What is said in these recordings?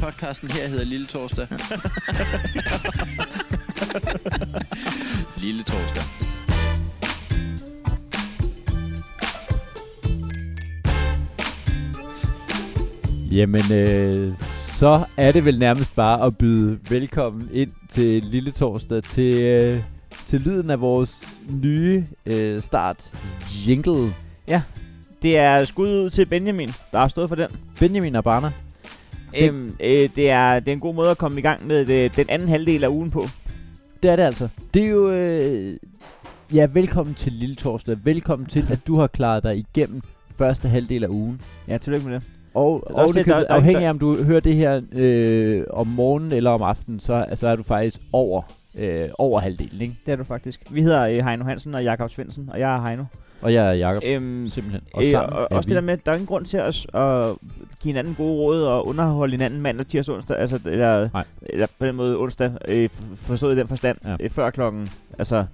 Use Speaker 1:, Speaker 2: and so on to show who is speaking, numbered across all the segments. Speaker 1: Podcasten her hedder Lille Torsdag. Lille Torsdag.
Speaker 2: Jamen, øh, så er det vel nærmest bare at byde velkommen ind til Lille Torsdag, til, øh, til lyden af vores nye øh, start, Jingle.
Speaker 3: Det er skud ud til Benjamin, der har stået for den.
Speaker 2: Benjamin Abana. Det-
Speaker 3: Øhm, øh, det, er, det er en god måde at komme i gang med det, den anden halvdel af ugen på.
Speaker 2: Det er det altså. Det er jo... Øh, ja, velkommen til Lille Torsdag. Velkommen til, at du har klaret dig igennem første halvdel af ugen.
Speaker 3: Ja, tillykke med det.
Speaker 2: Og, og
Speaker 3: er også det,
Speaker 2: det,
Speaker 3: der- der-
Speaker 2: afhængig af, om du hører det her øh, om morgenen eller om aftenen, så, så er du faktisk over, øh, over halvdelen, ikke?
Speaker 3: Det er du faktisk. Vi hedder øh, Heino Hansen og Jakob Svendsen, og jeg er Heino.
Speaker 2: Og jeg er Jacob.
Speaker 3: Øhm,
Speaker 2: Simpelthen.
Speaker 3: og øh,
Speaker 2: sammen
Speaker 3: og
Speaker 2: er
Speaker 3: også
Speaker 2: vi-
Speaker 3: det der med, at der er ingen grund til at, s- at give hinanden gode råd og underholde hinanden mandag, tirsdag, onsdag, altså, eller,
Speaker 2: Nej.
Speaker 3: eller på den måde onsdag, øh, f- forstået i den forstand,
Speaker 2: Ja.
Speaker 3: ja. øh, før klokken, altså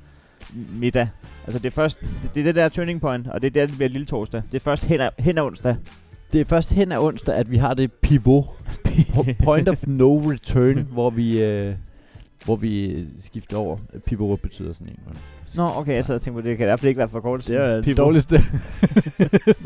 Speaker 3: middag. Altså det er først, det, det er det der turning point, og det er der, det bliver lille torsdag. Det er først hen ad, hen ad onsdag.
Speaker 2: Det er først hen ad onsdag, at vi har det pivot. Po- Point of no return, hvor vi, øh, hvor vi øh, skifter over. Pivot betyder sådan en. men
Speaker 3: Nå, okay, jeg sad og tænkte på, det kan i hvert fald ikke være forkortelse.
Speaker 2: den dårligste,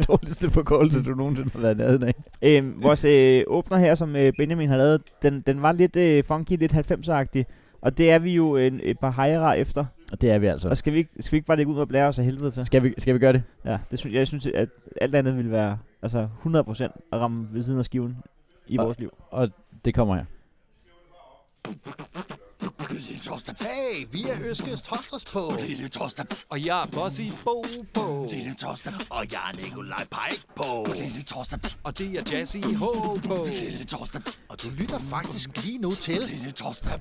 Speaker 2: dårligste forkortelse, du nogensinde har været nærheden af.
Speaker 3: Øhm, vores øh, åbner her, som øh, Benjamin har lavet, den, den var lidt øh, funky, lidt 90'er-agtig. Og det er vi jo øh, en, et par hejrer efter.
Speaker 2: Og det er vi altså.
Speaker 3: Og skal vi, ikke, skal vi ikke bare lægge ud og blære os af helvede til?
Speaker 2: Skal vi, skal vi gøre det?
Speaker 3: Ja, det synes, jeg synes, at alt andet ville være altså 100% at ramme ved siden af skiven i
Speaker 2: Og-
Speaker 3: vores liv.
Speaker 2: Det kommer her.
Speaker 4: Lille torsdag.
Speaker 5: Hey, vi er Øskes Tostres på.
Speaker 4: Lille torsdag.
Speaker 6: Og jeg er bossy Bo på.
Speaker 4: Lille torsdag.
Speaker 5: Og jeg er Nikolaj Pajk på.
Speaker 4: Lille torsdag.
Speaker 6: Og det er Jazzy H på.
Speaker 4: Lille torsdag.
Speaker 5: Og du lytter faktisk lige nu til.
Speaker 4: Lille torsdag.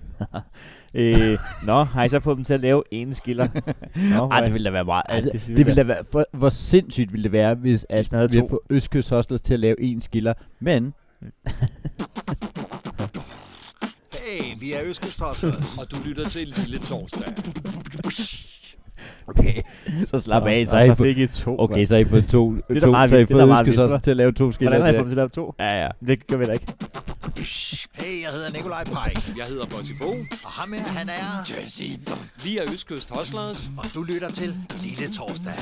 Speaker 3: Øh, nå, har I så fået dem til at lave en skiller? Nå,
Speaker 2: Ej, det ville da være meget.
Speaker 3: Ej,
Speaker 2: Altså,
Speaker 3: det
Speaker 2: det,
Speaker 3: ville
Speaker 2: det ville da være, for, hvor sindssygt ville det være, hvis at
Speaker 3: man havde
Speaker 2: vi havde
Speaker 3: to.
Speaker 2: fået Østkøs Hostlers til at lave en skiller. Men
Speaker 5: Hey, vi er Øskes Tostres.
Speaker 6: Og du lytter til Lille Torsdag.
Speaker 2: okay, så slap af. Så,
Speaker 3: så, så
Speaker 2: så, så
Speaker 3: fik I to.
Speaker 2: okay, så har I fået to,
Speaker 3: er da
Speaker 2: to
Speaker 3: meget
Speaker 2: så har I
Speaker 3: vildt, det er da
Speaker 2: fået
Speaker 3: meget
Speaker 2: Østkøs
Speaker 3: vildt,
Speaker 2: Hostlers
Speaker 3: hva'?
Speaker 2: til at lave to skiller.
Speaker 3: Hvordan har I
Speaker 2: til
Speaker 3: fået dem til at lave to?
Speaker 2: Ja, ja.
Speaker 3: Det gør vi da ikke.
Speaker 5: Hey, jeg hedder Nikolaj Pajk.
Speaker 6: Jeg hedder Bossy Bo.
Speaker 5: Og ham her, han er.
Speaker 6: Vi er Østkyst Hoslers.
Speaker 5: Og du lytter til Lille Torsdag.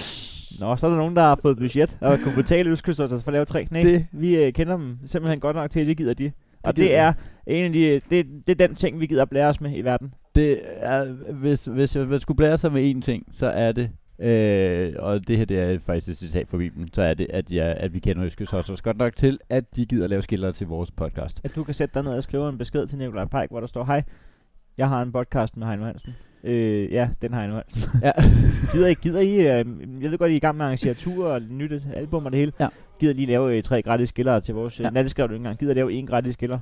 Speaker 3: Nå, så er der nogen, der har fået budget og kunne betale østkyst, altså for at lave tre knæ.
Speaker 2: Det-
Speaker 3: Vi øh, kender dem simpelthen godt nok til, at det gider de. Og det,
Speaker 2: gider
Speaker 3: det
Speaker 2: de.
Speaker 3: er en af de, det, det er den ting, vi gider at blære os med i verden.
Speaker 2: Det er, hvis, hvis jeg hvis skulle blære sig med én ting, så er det, øh, og det her det er faktisk et citat fra Bibelen, så er det, at, jeg, at vi kender Øskes også godt nok til, at de gider lave skiller til vores podcast.
Speaker 3: At du kan sætte dig ned og skrive en besked til Nikolaj Pajk, hvor der står, hej, jeg har en podcast med Heino Hansen. Øh, ja, den har Heino Hansen.
Speaker 2: Ja.
Speaker 3: gider I, gider I øh, jeg ved godt, I er i gang med at arrangere ture og nyt album og det hele.
Speaker 2: Ja.
Speaker 3: Gider I lige lave øh, tre gratis skiller til vores... Øh,
Speaker 2: Ja.
Speaker 3: ja. Nej, det skrev du ikke engang. Gider I lave en gratis skiller?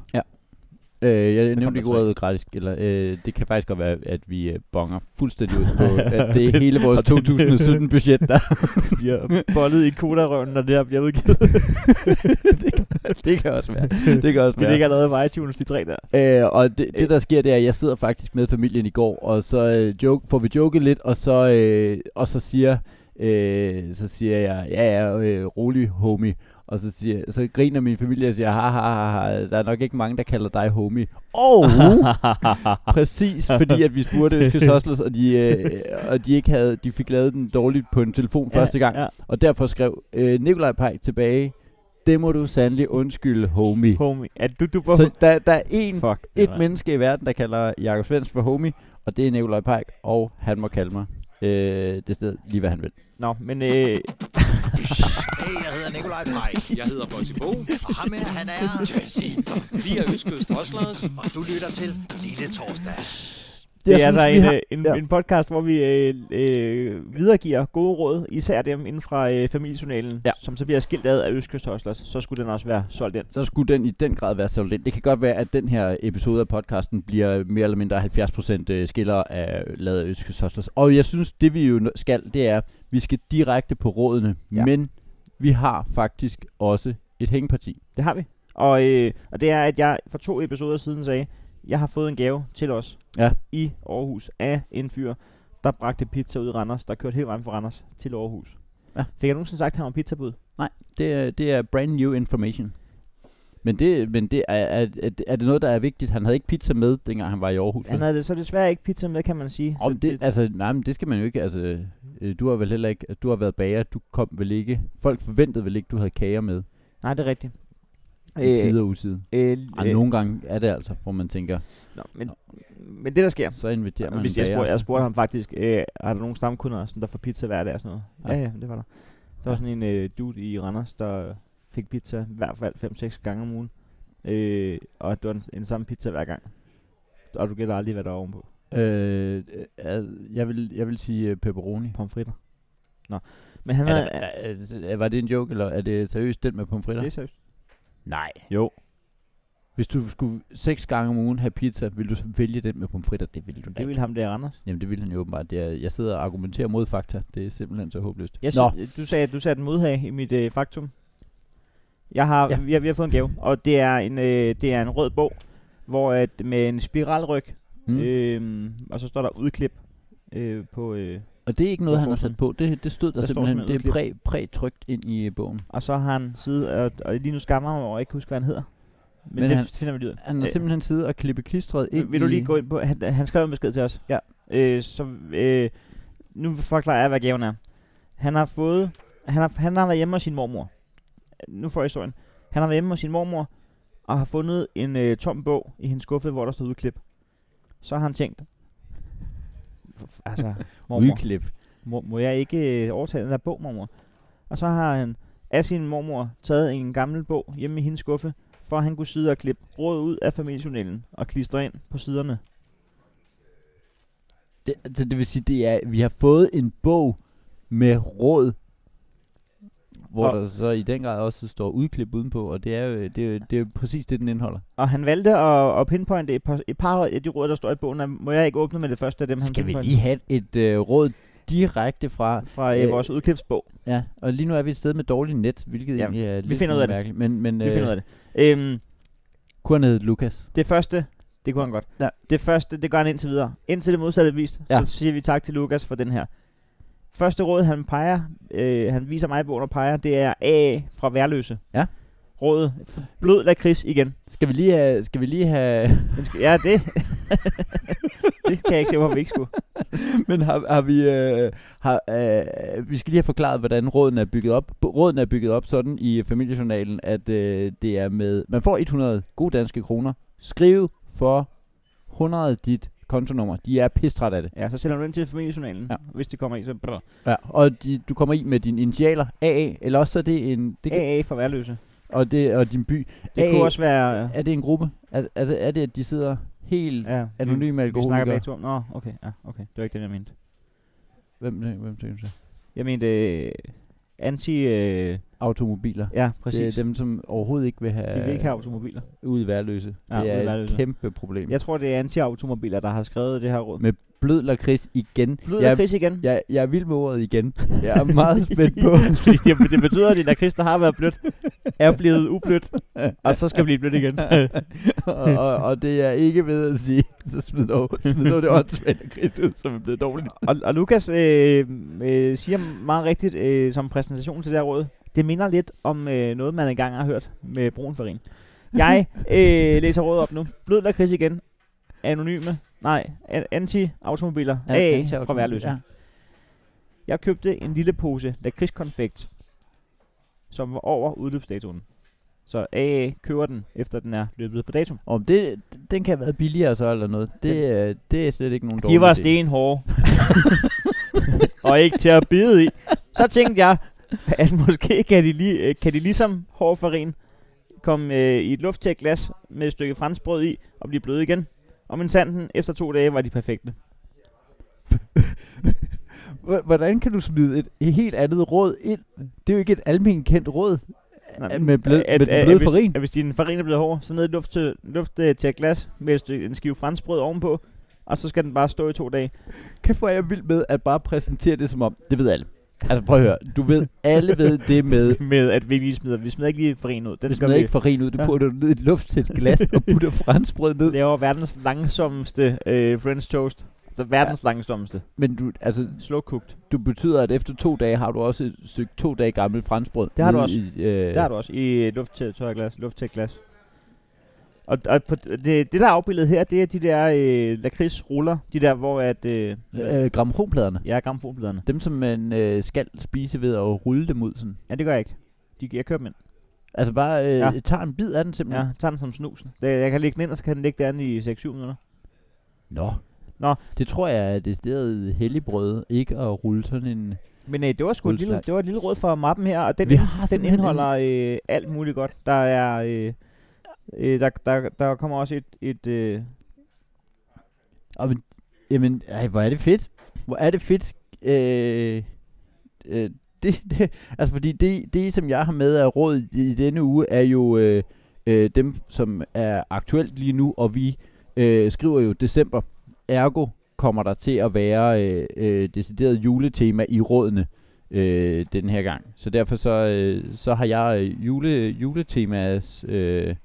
Speaker 2: Øh, jeg
Speaker 3: Så
Speaker 2: nævnte
Speaker 3: kom
Speaker 2: ikke
Speaker 3: der tre.
Speaker 2: ordet gratis, eller øh, det kan faktisk godt være, at vi øh, bonger fuldstændig ud på, at det er hele vores 2017-budget, der
Speaker 3: bliver bollet i kodarøven, når det her bliver udgivet.
Speaker 2: det kan også være. Det kan også
Speaker 3: Vi
Speaker 2: være.
Speaker 3: ligger allerede på iTunes, de tre der.
Speaker 2: Øh, og det, det der sker, det er, at jeg sidder faktisk med familien i går, og så øh, joke, får vi joket lidt, og så, øh, og så siger øh, så siger jeg, ja ja, øh, rolig homie. Og så, siger, så griner min familie og siger, ha, ha, ha, ha, der er nok ikke mange, der kalder dig homie. Og præcis, fordi at vi spurgte Øskes Hoslers, og de, øh, og de, ikke havde, de fik lavet den dårligt på en telefon ja, første gang. Ja.
Speaker 3: Ja,
Speaker 2: Og derfor skrev øh, Nikolaj Pej tilbage, det må du sandelig undskylde, homie.
Speaker 3: homie. Er du, du på
Speaker 2: Så der, der er en
Speaker 3: Fuck, det
Speaker 2: et
Speaker 3: var-
Speaker 2: menneske i verden, der kalder Jakob Svens for homie, og det er Nikolaj Pajk, og han må kalde mig øh, det sted lige, hvad han vil.
Speaker 3: Nå, men øh,
Speaker 5: Hey, jeg hedder Nikolaj Pajk.
Speaker 6: Jeg hedder Bossy Bo.
Speaker 5: Og ham her, han er.
Speaker 6: Vi er Østkyst Hoslers.
Speaker 5: Og du lytter til Lille Torsdag.
Speaker 3: det er altså en,
Speaker 2: har,
Speaker 3: har... en,
Speaker 2: ja.
Speaker 3: ja. en podcast, hvor vi øh, øh, videregiver gode råd, især dem inden fra øh, familiejournalen,
Speaker 2: Ja.
Speaker 3: ja. som så bliver skilt ad af Østkyst Hoslers, så skulle den også være solgt ind.
Speaker 2: så skulle den i den grad være solid. Det kan godt være, at den her episode af podcasten bliver mere eller mindre 70% øh, skiller af lavet af Østkyst Hostlers. Og jeg synes, det vi jo nå- skal, det er, vi skal direkte på rådene, ja.
Speaker 3: Ja.
Speaker 2: men vi har faktisk også et hængeparti.
Speaker 3: Det har vi. Og, øh, og det er, at jeg for to episoder siden sagde, jeg har fået en gave til os
Speaker 2: Ja.
Speaker 3: i Aarhus af en fyr, der bragte pizza ud i Randers, der kørte hele vejen fra Randers til Aarhus.
Speaker 2: Ja.
Speaker 3: Fik jeg nogensinde sagt, at han var pizzabud?
Speaker 2: Det, er- det er brand new information. Men det, men det er, er, er, er det noget, der er vigtigt? Han havde ikke pizza med, dengang han var i Aarhus.
Speaker 3: Han
Speaker 2: vel?
Speaker 3: havde det så desværre ikke pizza med, kan man sige.
Speaker 2: Om
Speaker 3: Så
Speaker 2: det, altså, nej, men det skal man jo ikke. Altså, øh, du har vel heller ikke, du har været bager, du kom vel ikke. Folk forventede vel ikke, du havde kager med
Speaker 3: nej, det er rigtigt.
Speaker 2: i tid Ah, og utid.
Speaker 3: øh,
Speaker 2: Ej, nogle gange er det altså, hvor man tænker,
Speaker 3: nå, men, men det der sker,
Speaker 2: så inviterer man
Speaker 3: Hvis
Speaker 2: en
Speaker 3: jeg,
Speaker 2: bager.
Speaker 3: spurgte, jeg
Speaker 2: altså.
Speaker 3: spurgte ham faktisk, øh, er der nogen stamkunder, sådan, der får pizza hver dag og sådan noget?
Speaker 2: Ja.
Speaker 3: Ja, ja, det var der. Der var sådan en øh, dude i Randers, der øh, fik pizza i hvert fald 5-6 gange om ugen. Øh, og det var den, den samme pizza hver gang. Og du gætter aldrig, hvad der er ovenpå.
Speaker 2: Øh, øh, al- jeg, vil, jeg vil sige øh, pepperoni.
Speaker 3: Pomfritter. Nå. Men han
Speaker 2: Er
Speaker 3: havde...
Speaker 2: der, er, er, var det en joke, eller er det seriøst den med pomfritter?
Speaker 3: det er seriøst.
Speaker 2: Nej.
Speaker 3: Jo.
Speaker 2: Hvis du skulle seks gange om ugen have pizza, ville du så vælge den med pomfritter? Det ville du da
Speaker 3: Det
Speaker 2: ikke.
Speaker 3: ville ham der i Randers.
Speaker 2: Jamen det ville han jo åbenbart. Det er, jeg sidder og argumenterer mod fakta. Det er simpelthen så håbløst.
Speaker 3: Jeg
Speaker 2: Nå,
Speaker 3: sy- du sagde, du satte en modhag i mit øh, faktum. Jeg har,
Speaker 2: Ja.
Speaker 3: ja. vi, har, vi har fået en gave, og det er en, øh, det er en rød bog, hvor at med en spiralryg,
Speaker 2: mm.
Speaker 3: Mm.
Speaker 2: øh,
Speaker 3: Øhm, og så står der udklip øh, på... Øh,
Speaker 2: og det er ikke noget,
Speaker 3: der
Speaker 2: han har
Speaker 3: står
Speaker 2: sat
Speaker 3: sådan-
Speaker 2: på. Det, det stod der,
Speaker 3: der står
Speaker 2: simpelthen.
Speaker 3: simpelthen
Speaker 2: Det er præ, prætrykt ind i øh, bogen.
Speaker 3: og så har han side... Og, og lige nu skammer jeg mig over, at jeg ikke husker, hvad han hedder. Men,
Speaker 2: Men
Speaker 3: Men
Speaker 2: han-
Speaker 3: det han, finder vi lige ud af.
Speaker 2: Han har
Speaker 3: Øh.
Speaker 2: simpelthen siddet og klippet klistret ind
Speaker 3: Vil, vil du
Speaker 2: i...
Speaker 3: lige gå ind på... Han, han skrev en besked til os.
Speaker 2: Ja.
Speaker 3: Øh, så øh, nu forklarer jeg, hvad gaven er. Han har fået... Han har, han har været hjemme hos sin mormor. Nu får jeg historien. Han har været hjemme hos sin mormor, og har fundet en øh, tom bog i hendes skuffe, hvor der stod udklip. Så har han tænkt... Altså, mormor.
Speaker 2: Udklip.
Speaker 3: må, må jeg ikke øh, overtage den der bog, mormor? Og så har han af sin mormor taget en gammel bog hjemme i hendes skuffe, for at han kunne sidde og klippe råd ud af familiejournalen og klistre ind på siderne.
Speaker 2: Det, altså, det vil sige, det er, vi har fået en bog med råd, hvor
Speaker 3: Og-
Speaker 2: der så i den grad også står udklip udenpå, og det er jo, det er, jo- det er jo præcis det, den indeholder.
Speaker 3: Og han valgte at, at pinpointe et par, et par af de råd, der står i bogen. og Må jeg ikke åbne med det første af dem, han
Speaker 2: Skal vi
Speaker 3: pinpointede?
Speaker 2: lige have et øh, råd direkte fra...
Speaker 3: Fra øh,
Speaker 2: Øh,
Speaker 3: vores udklipsbog.
Speaker 2: Ja, og lige nu er vi et sted med dårligt net, hvilket
Speaker 3: Ja,
Speaker 2: egentlig er lidt
Speaker 3: finder ud af det.
Speaker 2: mærkeligt. Men, men øh,
Speaker 3: Vi finder ud af det. Øhm,
Speaker 2: kunne han hedde Lukas?
Speaker 3: det første, det kunne han godt.
Speaker 2: Ja.
Speaker 3: Det første, det gør han indtil videre. Indtil det modsatte er vist,
Speaker 2: Ja.
Speaker 3: ja. så siger vi tak til Lukas for den her. Første råd, han peger, øh, han viser mig bogen og peger, det er A fra Værløse.
Speaker 2: Ja.
Speaker 3: Rådet. Blød lakrids igen.
Speaker 2: Skal vi lige have... Skal vi lige have
Speaker 3: Den skal, ja, det. det kan jeg ikke se, hvorfor vi ikke skulle.
Speaker 2: men har, har vi... Øh, har, øh, vi skal lige have forklaret, hvordan råden er bygget op. B- Råden er bygget op sådan i familiejournalen, at øh, det er med... Man får 100 gode danske kroner. Skriv for 100 dit kontonummer. De er pistræt af det.
Speaker 3: Ja, så sender du den til familiejournalen,
Speaker 2: Ja.
Speaker 3: ja. hvis det kommer i, så brr.
Speaker 2: Ja. Og de, du kommer i med dine initialer, AA, eller også så er det en... Det kan,
Speaker 3: AA fra Værløse.
Speaker 2: og, det, og din by.
Speaker 3: Det
Speaker 2: AA,
Speaker 3: kunne også være...
Speaker 2: Er det en gruppe? Er, er, det, er det, at de sidder helt...
Speaker 3: ja,
Speaker 2: anonyme
Speaker 3: vi, vi snakker
Speaker 2: alkoholikere.
Speaker 3: begge to om. Nå, okay, ja, okay. Det var ikke det, jeg mente.
Speaker 2: Hvem, hvem tænker du så?
Speaker 3: Jeg mente øh, anti... Øh,
Speaker 2: Automobiler.
Speaker 3: ja,
Speaker 2: Det er
Speaker 3: præcis.
Speaker 2: dem, som overhovedet ikke vil have...
Speaker 3: De vil ikke have automobiler.
Speaker 2: Ud i værløse.
Speaker 3: Ja,
Speaker 2: Ja,
Speaker 3: ude
Speaker 2: det
Speaker 3: i
Speaker 2: er et
Speaker 3: Værløse.
Speaker 2: kæmpe problem.
Speaker 3: Jeg tror, det er anti-automobiler, der har skrevet det her råd.
Speaker 2: Med blød lakrids igen.
Speaker 3: Blød
Speaker 2: jeg,
Speaker 3: ja. lakrids igen.
Speaker 2: Jeg, jeg er vild med ordet igen. Jeg er meget spændt på.
Speaker 3: Fordi det, det betyder, at det lakrids, der har været blødt, er blevet ublødt, og så skal blive blødt igen.
Speaker 2: og, og, og det er ikke ved at sige, så smid nu smid nu det åndssvagt lakrids ud, som er blevet dårligt.
Speaker 3: og, og Lukas øh, øh, siger meget rigtigt øh, som præsentation til det her råd, det minder lidt om øh, noget, man engang har hørt med brun farin. Jeg øh, læser rådet op nu. Blød lakrids igen. Anonyme. Nej, an- anti-automobiler. Ja, AA fra værløse. Ja. Jeg købte en lille pose lakridskonfekt, som var over udløbsdatoen. Så AA køber den, efter den er løbet på dato.
Speaker 2: Om det, den kan have været billigere så eller noget. Det, er- det er slet ikke nogen dårlig
Speaker 3: De var
Speaker 2: idé.
Speaker 3: stenhårde. og ikke til at bide i. Så tænkte jeg, at måske kan de, lige, øh, kan de ligesom hård farin komme øh, i et lufttæt glas med et stykke franskbrød i og blive bløde igen. Og men sanden, efter to dage var de perfekte.
Speaker 2: Hvor- Hvordan kan du smide et, et helt andet råd ind? Det er jo ikke et almindeligt kendt råd.
Speaker 3: Nej,
Speaker 2: med blød,
Speaker 3: at-
Speaker 2: med den
Speaker 3: at-
Speaker 2: bløde
Speaker 3: at hvis-
Speaker 2: farin.
Speaker 3: At hvis din farin er blevet hård, så ned i et luft til, luft øh, til et glas med et stykke, en skive franskbrød ovenpå, og så skal den bare stå i to dage.
Speaker 2: Kæft hvor er jeg vild med at bare præsentere det som om, det ved alle. Altså prøv at høre, du ved, alle ved det med,
Speaker 3: Med at vi lige smider, vi smider ikke lige farin ud. Den
Speaker 2: det
Speaker 3: skal
Speaker 2: smider
Speaker 3: vi
Speaker 2: ikke farin ud, du
Speaker 3: Ja.
Speaker 2: putter det ned i et lufttæt glas og putter franskbrød ned.
Speaker 3: laver verdens langsomste øh, french toast. Altså verdens ja. langsomste.
Speaker 2: Men du, altså,
Speaker 3: Slow cooked.
Speaker 2: du betyder, at efter to dage har du også et stykke to dage gammelt franskbrød.
Speaker 3: Det har du
Speaker 2: nede
Speaker 3: også.
Speaker 2: I, øh,
Speaker 3: Det har du også i luft til tørre glas, luft til glas. Og, og på, det, det, der er afbildet her, det er de der øh, lakridsruller. De der, hvor at... Øh,
Speaker 2: Øh, gramofonpladerne.
Speaker 3: jeg er grammofonpladerne.
Speaker 2: Dem, som man øh, skal spise ved at rulle dem ud sådan.
Speaker 3: Ja, det gør jeg ikke. De, jeg kører dem ind.
Speaker 2: Altså bare øh,
Speaker 3: Ja.
Speaker 2: ja. tager en bid af den
Speaker 3: Ja,
Speaker 2: simpelthen.
Speaker 3: jeg tager den som snusen. Det, jeg kan lægge den ind, og så kan den ligge derinde i 6-7 minutter.
Speaker 2: Nå.
Speaker 3: Nå.
Speaker 2: Det tror jeg er det stedet helligbrød, ikke at rulle sådan en...
Speaker 3: Men øh, det var sgu et lille,
Speaker 2: Guldslaks.
Speaker 3: det var et lille råd for mappen her, og den,
Speaker 2: Vi
Speaker 3: ind-
Speaker 2: har
Speaker 3: den
Speaker 2: simpelthen
Speaker 3: indeholder øh, alt muligt godt. Der er øh, øh, der, der, der kommer også et, et øh,
Speaker 2: Og, men, jamen, ej, hvor er det fedt. Hvor er det fedt. Øh, øh, det, det, altså, fordi det, det, som jeg har med af råd i, i denne uge, er jo øh, øh, dem, som er aktuelt lige nu, og vi øh, skriver jo december. Ergo kommer der til at være øh, øh, decideret juletema i rådene øh, den her gang. Så derfor så, øh, så har jeg øh, jule, juletemas... Øh,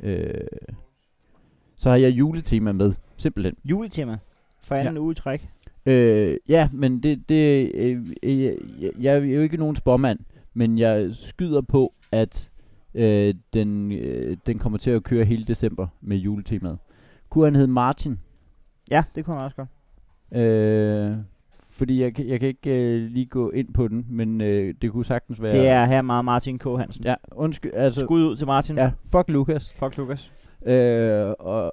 Speaker 2: øh, så har jeg juletema med, simpelthen.
Speaker 3: juletema for anden ja. uge i træk.
Speaker 2: Øh, ja, men det, det øh, øh, jeg, jeg er jo ikke nogen spormand, men jeg skyder på, at øh, den, øh, den kommer til at køre hele december med juletemaet. Kunne han hedde Martin?
Speaker 3: Ja, det kunne man også godt.
Speaker 2: Øh, fordi jeg, kan- jeg kan ikke øh, lige gå ind på den, men øh, det kunne sagtens være...
Speaker 3: Det er her meget Martin K. Hansen.
Speaker 2: Ja, undskyld, altså...
Speaker 3: Skud ud til Martin.
Speaker 2: Ja, fuck Lukas.
Speaker 3: Fuck Lukas.
Speaker 2: Øh, og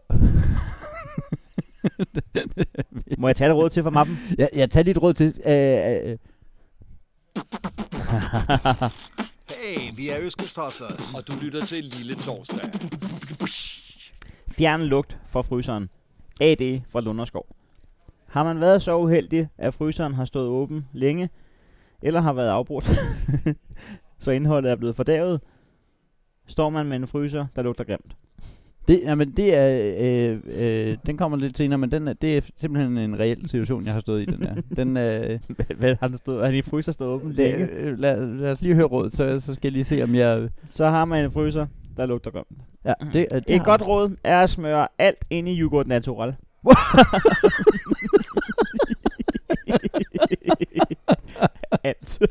Speaker 3: Må jeg tage det råd til fra mappen?
Speaker 2: jeg, jeg tager dit råd til... Øh, øh,
Speaker 5: Hey, vi er Øskes Torsdags.
Speaker 6: Og du lytter til Lille Torsdag.
Speaker 3: Fjern lugt fra fryseren. AD fra Lunderskov. Har man været så uheldig, at fryseren har stået åben længe, eller har været afbrudt, så indholdet er blevet fordævet, står man med en fryser, der lugter grimt.
Speaker 2: Det, jamen, det er, øh, øh, den kommer lidt senere, men den er, det er simpelthen en reel situation, jeg har stået i den her. Den, øh,
Speaker 3: Hvad har den stået? Har din fryser stået åben længe?
Speaker 2: lad, øh, lad, lad os lige høre råd, så, så skal jeg lige se, om jeg...
Speaker 3: Så har man en fryser, der lugter grimt.
Speaker 2: Ja, det, øh, det
Speaker 3: Et
Speaker 2: har-
Speaker 3: godt råd er at smøre alt ind i yoghurt natural. alt.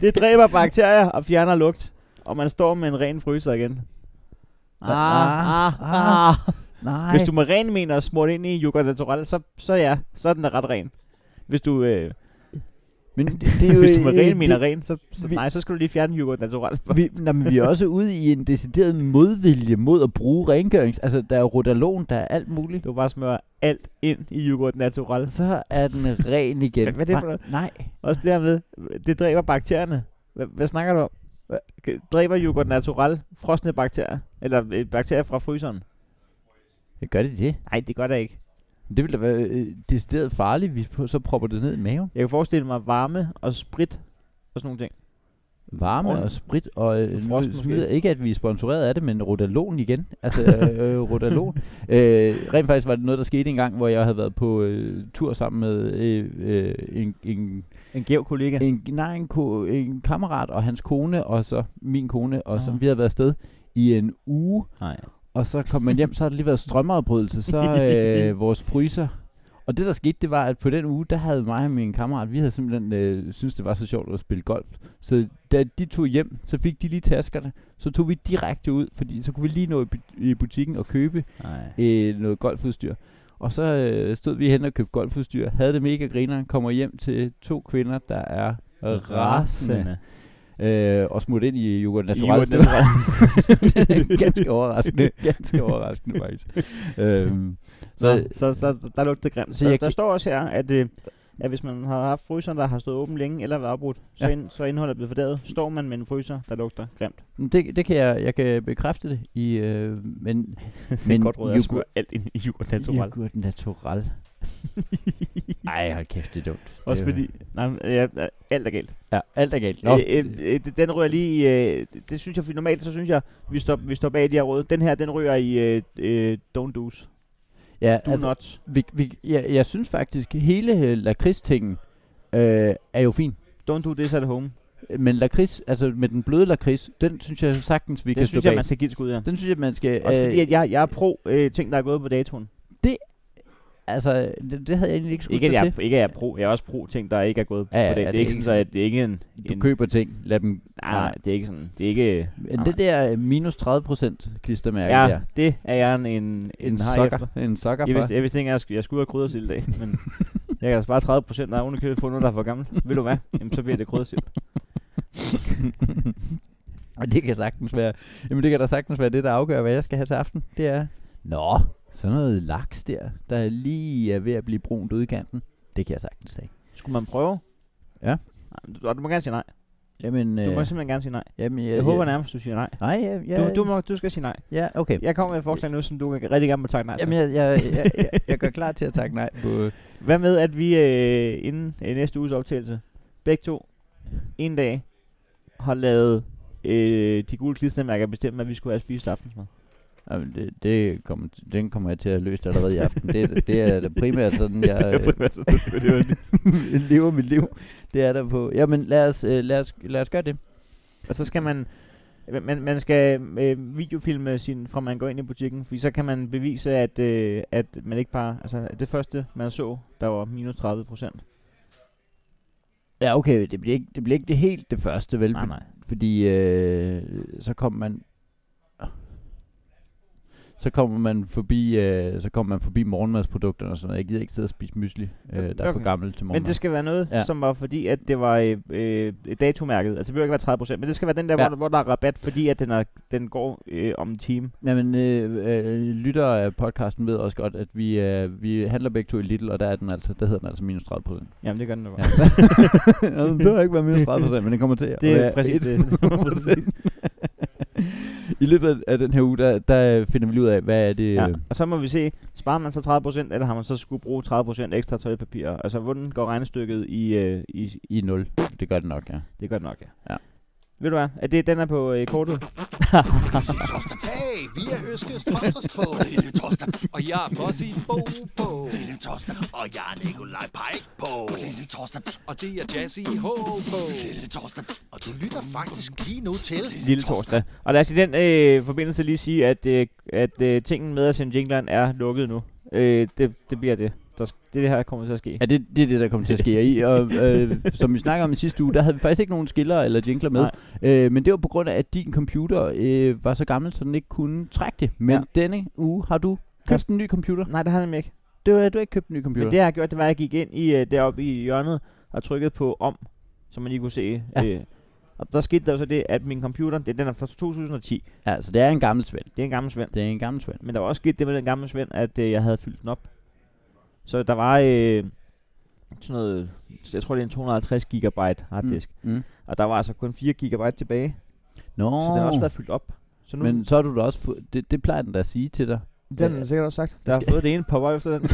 Speaker 3: det dræber bakterier og fjerner lugt, og man står med en ren fryser igen. Ah, ah, ah.
Speaker 2: Nej.
Speaker 3: Hvis du med ren mener at smurt ind i yoghurt natural, så, så ja, så er den da ret ren. Hvis du, øh,
Speaker 2: men det, det er jo,
Speaker 3: hvis du med
Speaker 2: øh,
Speaker 3: ren
Speaker 2: det-
Speaker 3: mener ren, så, så
Speaker 2: vi-
Speaker 3: nej, så skal du lige fjerne yoghurt natural.
Speaker 2: Vi, nej, men vi er også ude i en decideret modvilje mod at bruge rengørings... Altså, der er rodalon, der er alt muligt.
Speaker 3: Du bare smører alt ind i yoghurt natural.
Speaker 2: Så er den ren igen.
Speaker 3: Hvad- hvad er det for
Speaker 2: Nej,
Speaker 3: noget?
Speaker 2: Nej.
Speaker 3: Også dermed, det dræber bakterierne. Hvad, hvad snakker du om? Hva- g- Dræber yoghurt natural frosne bakterier? Eller øh, bakterier fra fryseren?
Speaker 2: Gør det det?
Speaker 3: Nej, det gør det ikke.
Speaker 2: Det ville da være øh, decideret farligt, hvis vi så propper det ned i maven.
Speaker 3: Jeg kan forestille mig varme og sprit og sådan nogle ting.
Speaker 2: Varme
Speaker 3: Ordentligt.
Speaker 2: og sprit, og øh, nu
Speaker 3: Frost måske.
Speaker 2: smider ikke, at vi er sponsoreret af det, men Rodalon igen. Altså, øh, Rodalon. Øh, rent faktisk var det noget, der skete en gang, hvor jeg havde været på øh, tur sammen med øh, øh, en, en,
Speaker 3: En gæv kollega.
Speaker 2: en, nej, en, ko, en kammerat og hans kone, og så min kone, og så
Speaker 3: Ah.
Speaker 2: vi havde været afsted i en uge,
Speaker 3: Nej.
Speaker 2: og så kom man hjem, så har det lige været strømafbrydelse, så øh, vores fryser. Og det, der skete, det var, at på den uge, der havde mig og min kammerat, vi havde simpelthen øh, synes det var så sjovt at spille golf. Så da de tog hjem, så fik de lige taskerne. Så tog vi direkte ud, fordi så kunne vi lige nå i, bu- i butikken og købe
Speaker 3: Nej.
Speaker 2: øh, noget golfudstyr. Og så øh, stod vi hen og købte golfudstyr, havde det mega griner, kommer hjem til to kvinder, der er rasende øh, og smurt ind i yoghurt natural.
Speaker 3: yoghurt
Speaker 2: ganske overraskende. Ganske overraskende, faktisk. øhm,
Speaker 3: Så,
Speaker 2: så,
Speaker 3: så, så der lugter det grimt.
Speaker 2: Så
Speaker 3: Så der,
Speaker 2: jeg
Speaker 3: der
Speaker 2: gi-
Speaker 3: står også her, at, øh, at hvis man har haft fryseren, der har stået åben længe eller været afbrudt, så,
Speaker 2: Ja.
Speaker 3: ja. ind, så er indholdet blevet fordævet. Står man med en fryser, der lugter grimt.
Speaker 2: det, det kan jeg, jeg kan bekræfte det. I, øh, men
Speaker 3: det er
Speaker 2: Men
Speaker 3: et godt råd at
Speaker 2: yoghurt-
Speaker 3: smøre alt ind i yoghurt natural.
Speaker 2: yoghurt natural. Ej, hold kæft, det er dumt.
Speaker 3: Også
Speaker 2: Det er-
Speaker 3: fordi, nej, men, ja, alt er galt.
Speaker 2: Ja, alt er galt. Nå,
Speaker 3: Øh, øh, øh, det- den rører lige i, øh, det- det synes jeg, fordi normalt så synes jeg, vi står, vi står bag de her råd. Den her, den rører i øh, øh, don't do's,
Speaker 2: ja,
Speaker 3: do altså, not.
Speaker 2: vi, vi, jeg, jeg synes faktisk, hele øh, lakridstingen øh, er jo fin.
Speaker 3: Don't do this at home.
Speaker 2: Men lakrids, altså med den bløde lakrids, den synes jeg sagtens, vi
Speaker 3: Vi
Speaker 2: kan
Speaker 3: det synes
Speaker 2: stå
Speaker 3: jeg,
Speaker 2: bag.
Speaker 3: man skal give et skud af.
Speaker 2: Den synes jeg, man skal...
Speaker 3: øh, Også fordi, at jeg, jeg er pro øh, ting, der er gået på datoen.
Speaker 2: altså, det, det havde jeg egentlig ikke skudt
Speaker 3: Ikke at,
Speaker 2: dig
Speaker 3: jeg,
Speaker 2: til.
Speaker 3: ikke at jeg er pro. Jeg er også pro ting, der ikke er gået
Speaker 2: Ja,
Speaker 3: ja,
Speaker 2: ja,
Speaker 3: på det.
Speaker 2: er
Speaker 3: Det
Speaker 2: det
Speaker 3: er ikke
Speaker 2: ikke
Speaker 3: sådan, så at det er ikke en...
Speaker 2: Du
Speaker 3: en
Speaker 2: køber ting, lad dem...
Speaker 3: nej, nej, det er ikke sådan. Det er ikke...
Speaker 2: Men
Speaker 3: nej.
Speaker 2: det der øh, minus 30% klistermærke
Speaker 3: Ja,
Speaker 2: der.
Speaker 3: det er jeg en, en,
Speaker 2: En
Speaker 3: haj
Speaker 2: sokker.
Speaker 3: efter.
Speaker 2: En sokker
Speaker 3: Jeg
Speaker 2: for.
Speaker 3: vidste, jeg vidste ikke engang, at jeg skulle- jeg skulle have kryddersild i dag, men jeg kan da spare 30 procent, når jeg købet få noget, der er for gammel. Ved du hvad? Jamen, så bliver det kryddersild.
Speaker 2: Og det kan sagtens være, jamen det kan da sagtens være det, der afgør, hvad jeg skal have til aften. Det er, nå, sådan noget laks der, der lige er ved at blive brunt ude i kanten. Det kan jeg sagtens sige.
Speaker 3: Skulle man prøve?
Speaker 2: Ja.
Speaker 3: Nej, men du, og du må gerne sige nej.
Speaker 2: Jamen,
Speaker 3: Du
Speaker 2: øh,
Speaker 3: må simpelthen gerne sige nej.
Speaker 2: jamen,
Speaker 3: Jeg håber nærmest, du siger nej.
Speaker 2: Nej, ja, ja,
Speaker 3: Du, du, må, du skal sige nej.
Speaker 2: ja, okay.
Speaker 3: Jeg kommer med et forslag nu, som du rigtig gerne må takke nej til.
Speaker 2: Jamen, jeg, jeg, jeg, jeg, jeg gør klar til at takke nej på...
Speaker 3: Hvad med, at vi øh, inden øh, næste uges optagelse, begge to, en dag, har lavet øh, de gule klistermærker bestemme, at vi skulle have spist aftensmad.
Speaker 2: Jamen, det, det kom, den kommer jeg til at løse allerede i aften. Det, er- det er da primært sådan, jeg øh, lever mit liv. Det er der på. Jamen, lad os, øh, lad os, lad os gøre det.
Speaker 3: Og så skal man man, man skal øh, videofilme sin, fra man går ind i butikken, fordi så kan man bevise, at, øh, at man ikke bare, altså at det første, man så, der var minus 30 procent.
Speaker 2: Ja, okay, det bliver ikke det, bliver ikke det helt det første, vel?
Speaker 3: Nej, nej.
Speaker 2: Fordi øh, så kom man så kommer man forbi øh, så kommer man forbi morgenmadsprodukterne og sådan noget. Jeg gider ikke sidde og spise mysli, øh, der er for
Speaker 3: Okay.
Speaker 2: gammel til
Speaker 3: Men
Speaker 2: morgenmad.
Speaker 3: det skal være noget,
Speaker 2: Ja.
Speaker 3: ja. som var fordi, at det var øh, øh, datomærket. Altså det behøver ikke være 30 procent, men det skal være den der,
Speaker 2: Ja.
Speaker 3: ja. hvor, hvor der er rabat, fordi at den, er, den går øh, om en time.
Speaker 2: Jamen, øh, øh, lytter af podcasten ved også godt, at vi, øh, vi handler begge to i Lidl, og der, er den altså, der hedder den altså minus 30 procent.
Speaker 3: Jamen det gør den jo bare.
Speaker 2: Ja. det behøver ikke være minus 30 procent, men den kommer til at
Speaker 3: Det er
Speaker 2: være
Speaker 3: præcis det.
Speaker 2: 100%. I løbet af- af den her uge, der, der finder vi lige ud af, hvad er det...
Speaker 3: Ja.
Speaker 2: øh,
Speaker 3: Og så må vi se, sparer man så 30%, eller har man så skulle bruge 30% ekstra toiletpapir? Altså, hvordan går regnestykket i, øh, i,
Speaker 2: i 0. Det gør det nok, ja.
Speaker 3: Det gør det nok, ja.
Speaker 2: Ja.
Speaker 3: Ved du hvad? Er det, den er på øh, kortet?
Speaker 5: Hey, vi er Øskes Torsdags på.
Speaker 4: Lille torsdag.
Speaker 6: Og jeg er også i Bo på.
Speaker 4: Lille torsdag.
Speaker 5: Og jeg er Nikolaj Pajk på.
Speaker 4: Lille torsdag.
Speaker 6: Og det er Jazzy H på.
Speaker 4: Lille torsdag.
Speaker 5: Og du lytter faktisk lige nu til...
Speaker 3: Lille torsdag. Og lad os i den øh, forbindelse lige sige, at, øh, at øh, tingen med at sende jingleren er lukket nu. Øh, det, det bliver det. Der, sk- det, er det her der kommer til at ske.
Speaker 2: Ja, det, det er det, der kommer til at ske. I, og, øh, som vi snakker om i sidste uge, der havde vi faktisk ikke nogen skiller eller jingler med. Øh, men det var på grund af, at din computer øh, var så gammel, så den ikke kunne trække det. Men ja.
Speaker 3: Ja.
Speaker 2: denne uge har du købt en ny computer.
Speaker 3: Nej, det har jeg nemlig ikke.
Speaker 2: Det var, du har ikke købt en ny
Speaker 3: Men
Speaker 2: computer.
Speaker 3: det, jeg har gjort, det var, at jeg gik ind i, øh, deroppe i hjørnet og trykkede på om, som man lige kunne se.
Speaker 2: Ja.
Speaker 3: Øh, og der skete der jo så det, at min computer, det, den er fra 2010,
Speaker 2: Ja, så det er en gammel svend.
Speaker 3: det er en gammel svend.
Speaker 2: Det er en gammel svend.
Speaker 3: Men der var også sket det med den gamle Svend, at øh, jeg havde fyldt den op. Så der var øh, sådan noget, jeg tror det er en 250 gigabyte harddisk. Mm.
Speaker 2: Mm.
Speaker 3: Og der var altså kun 4 gigabyte tilbage,
Speaker 2: Nå,
Speaker 3: oh. så den har også været fyldt op. Så nu,
Speaker 2: men
Speaker 3: Men,
Speaker 2: så har du da også fået, det, det plejer den da at sige til dig.
Speaker 3: den har sikkert også sagt. Der har
Speaker 2: Skal-
Speaker 3: fået det ene pop-up efter den.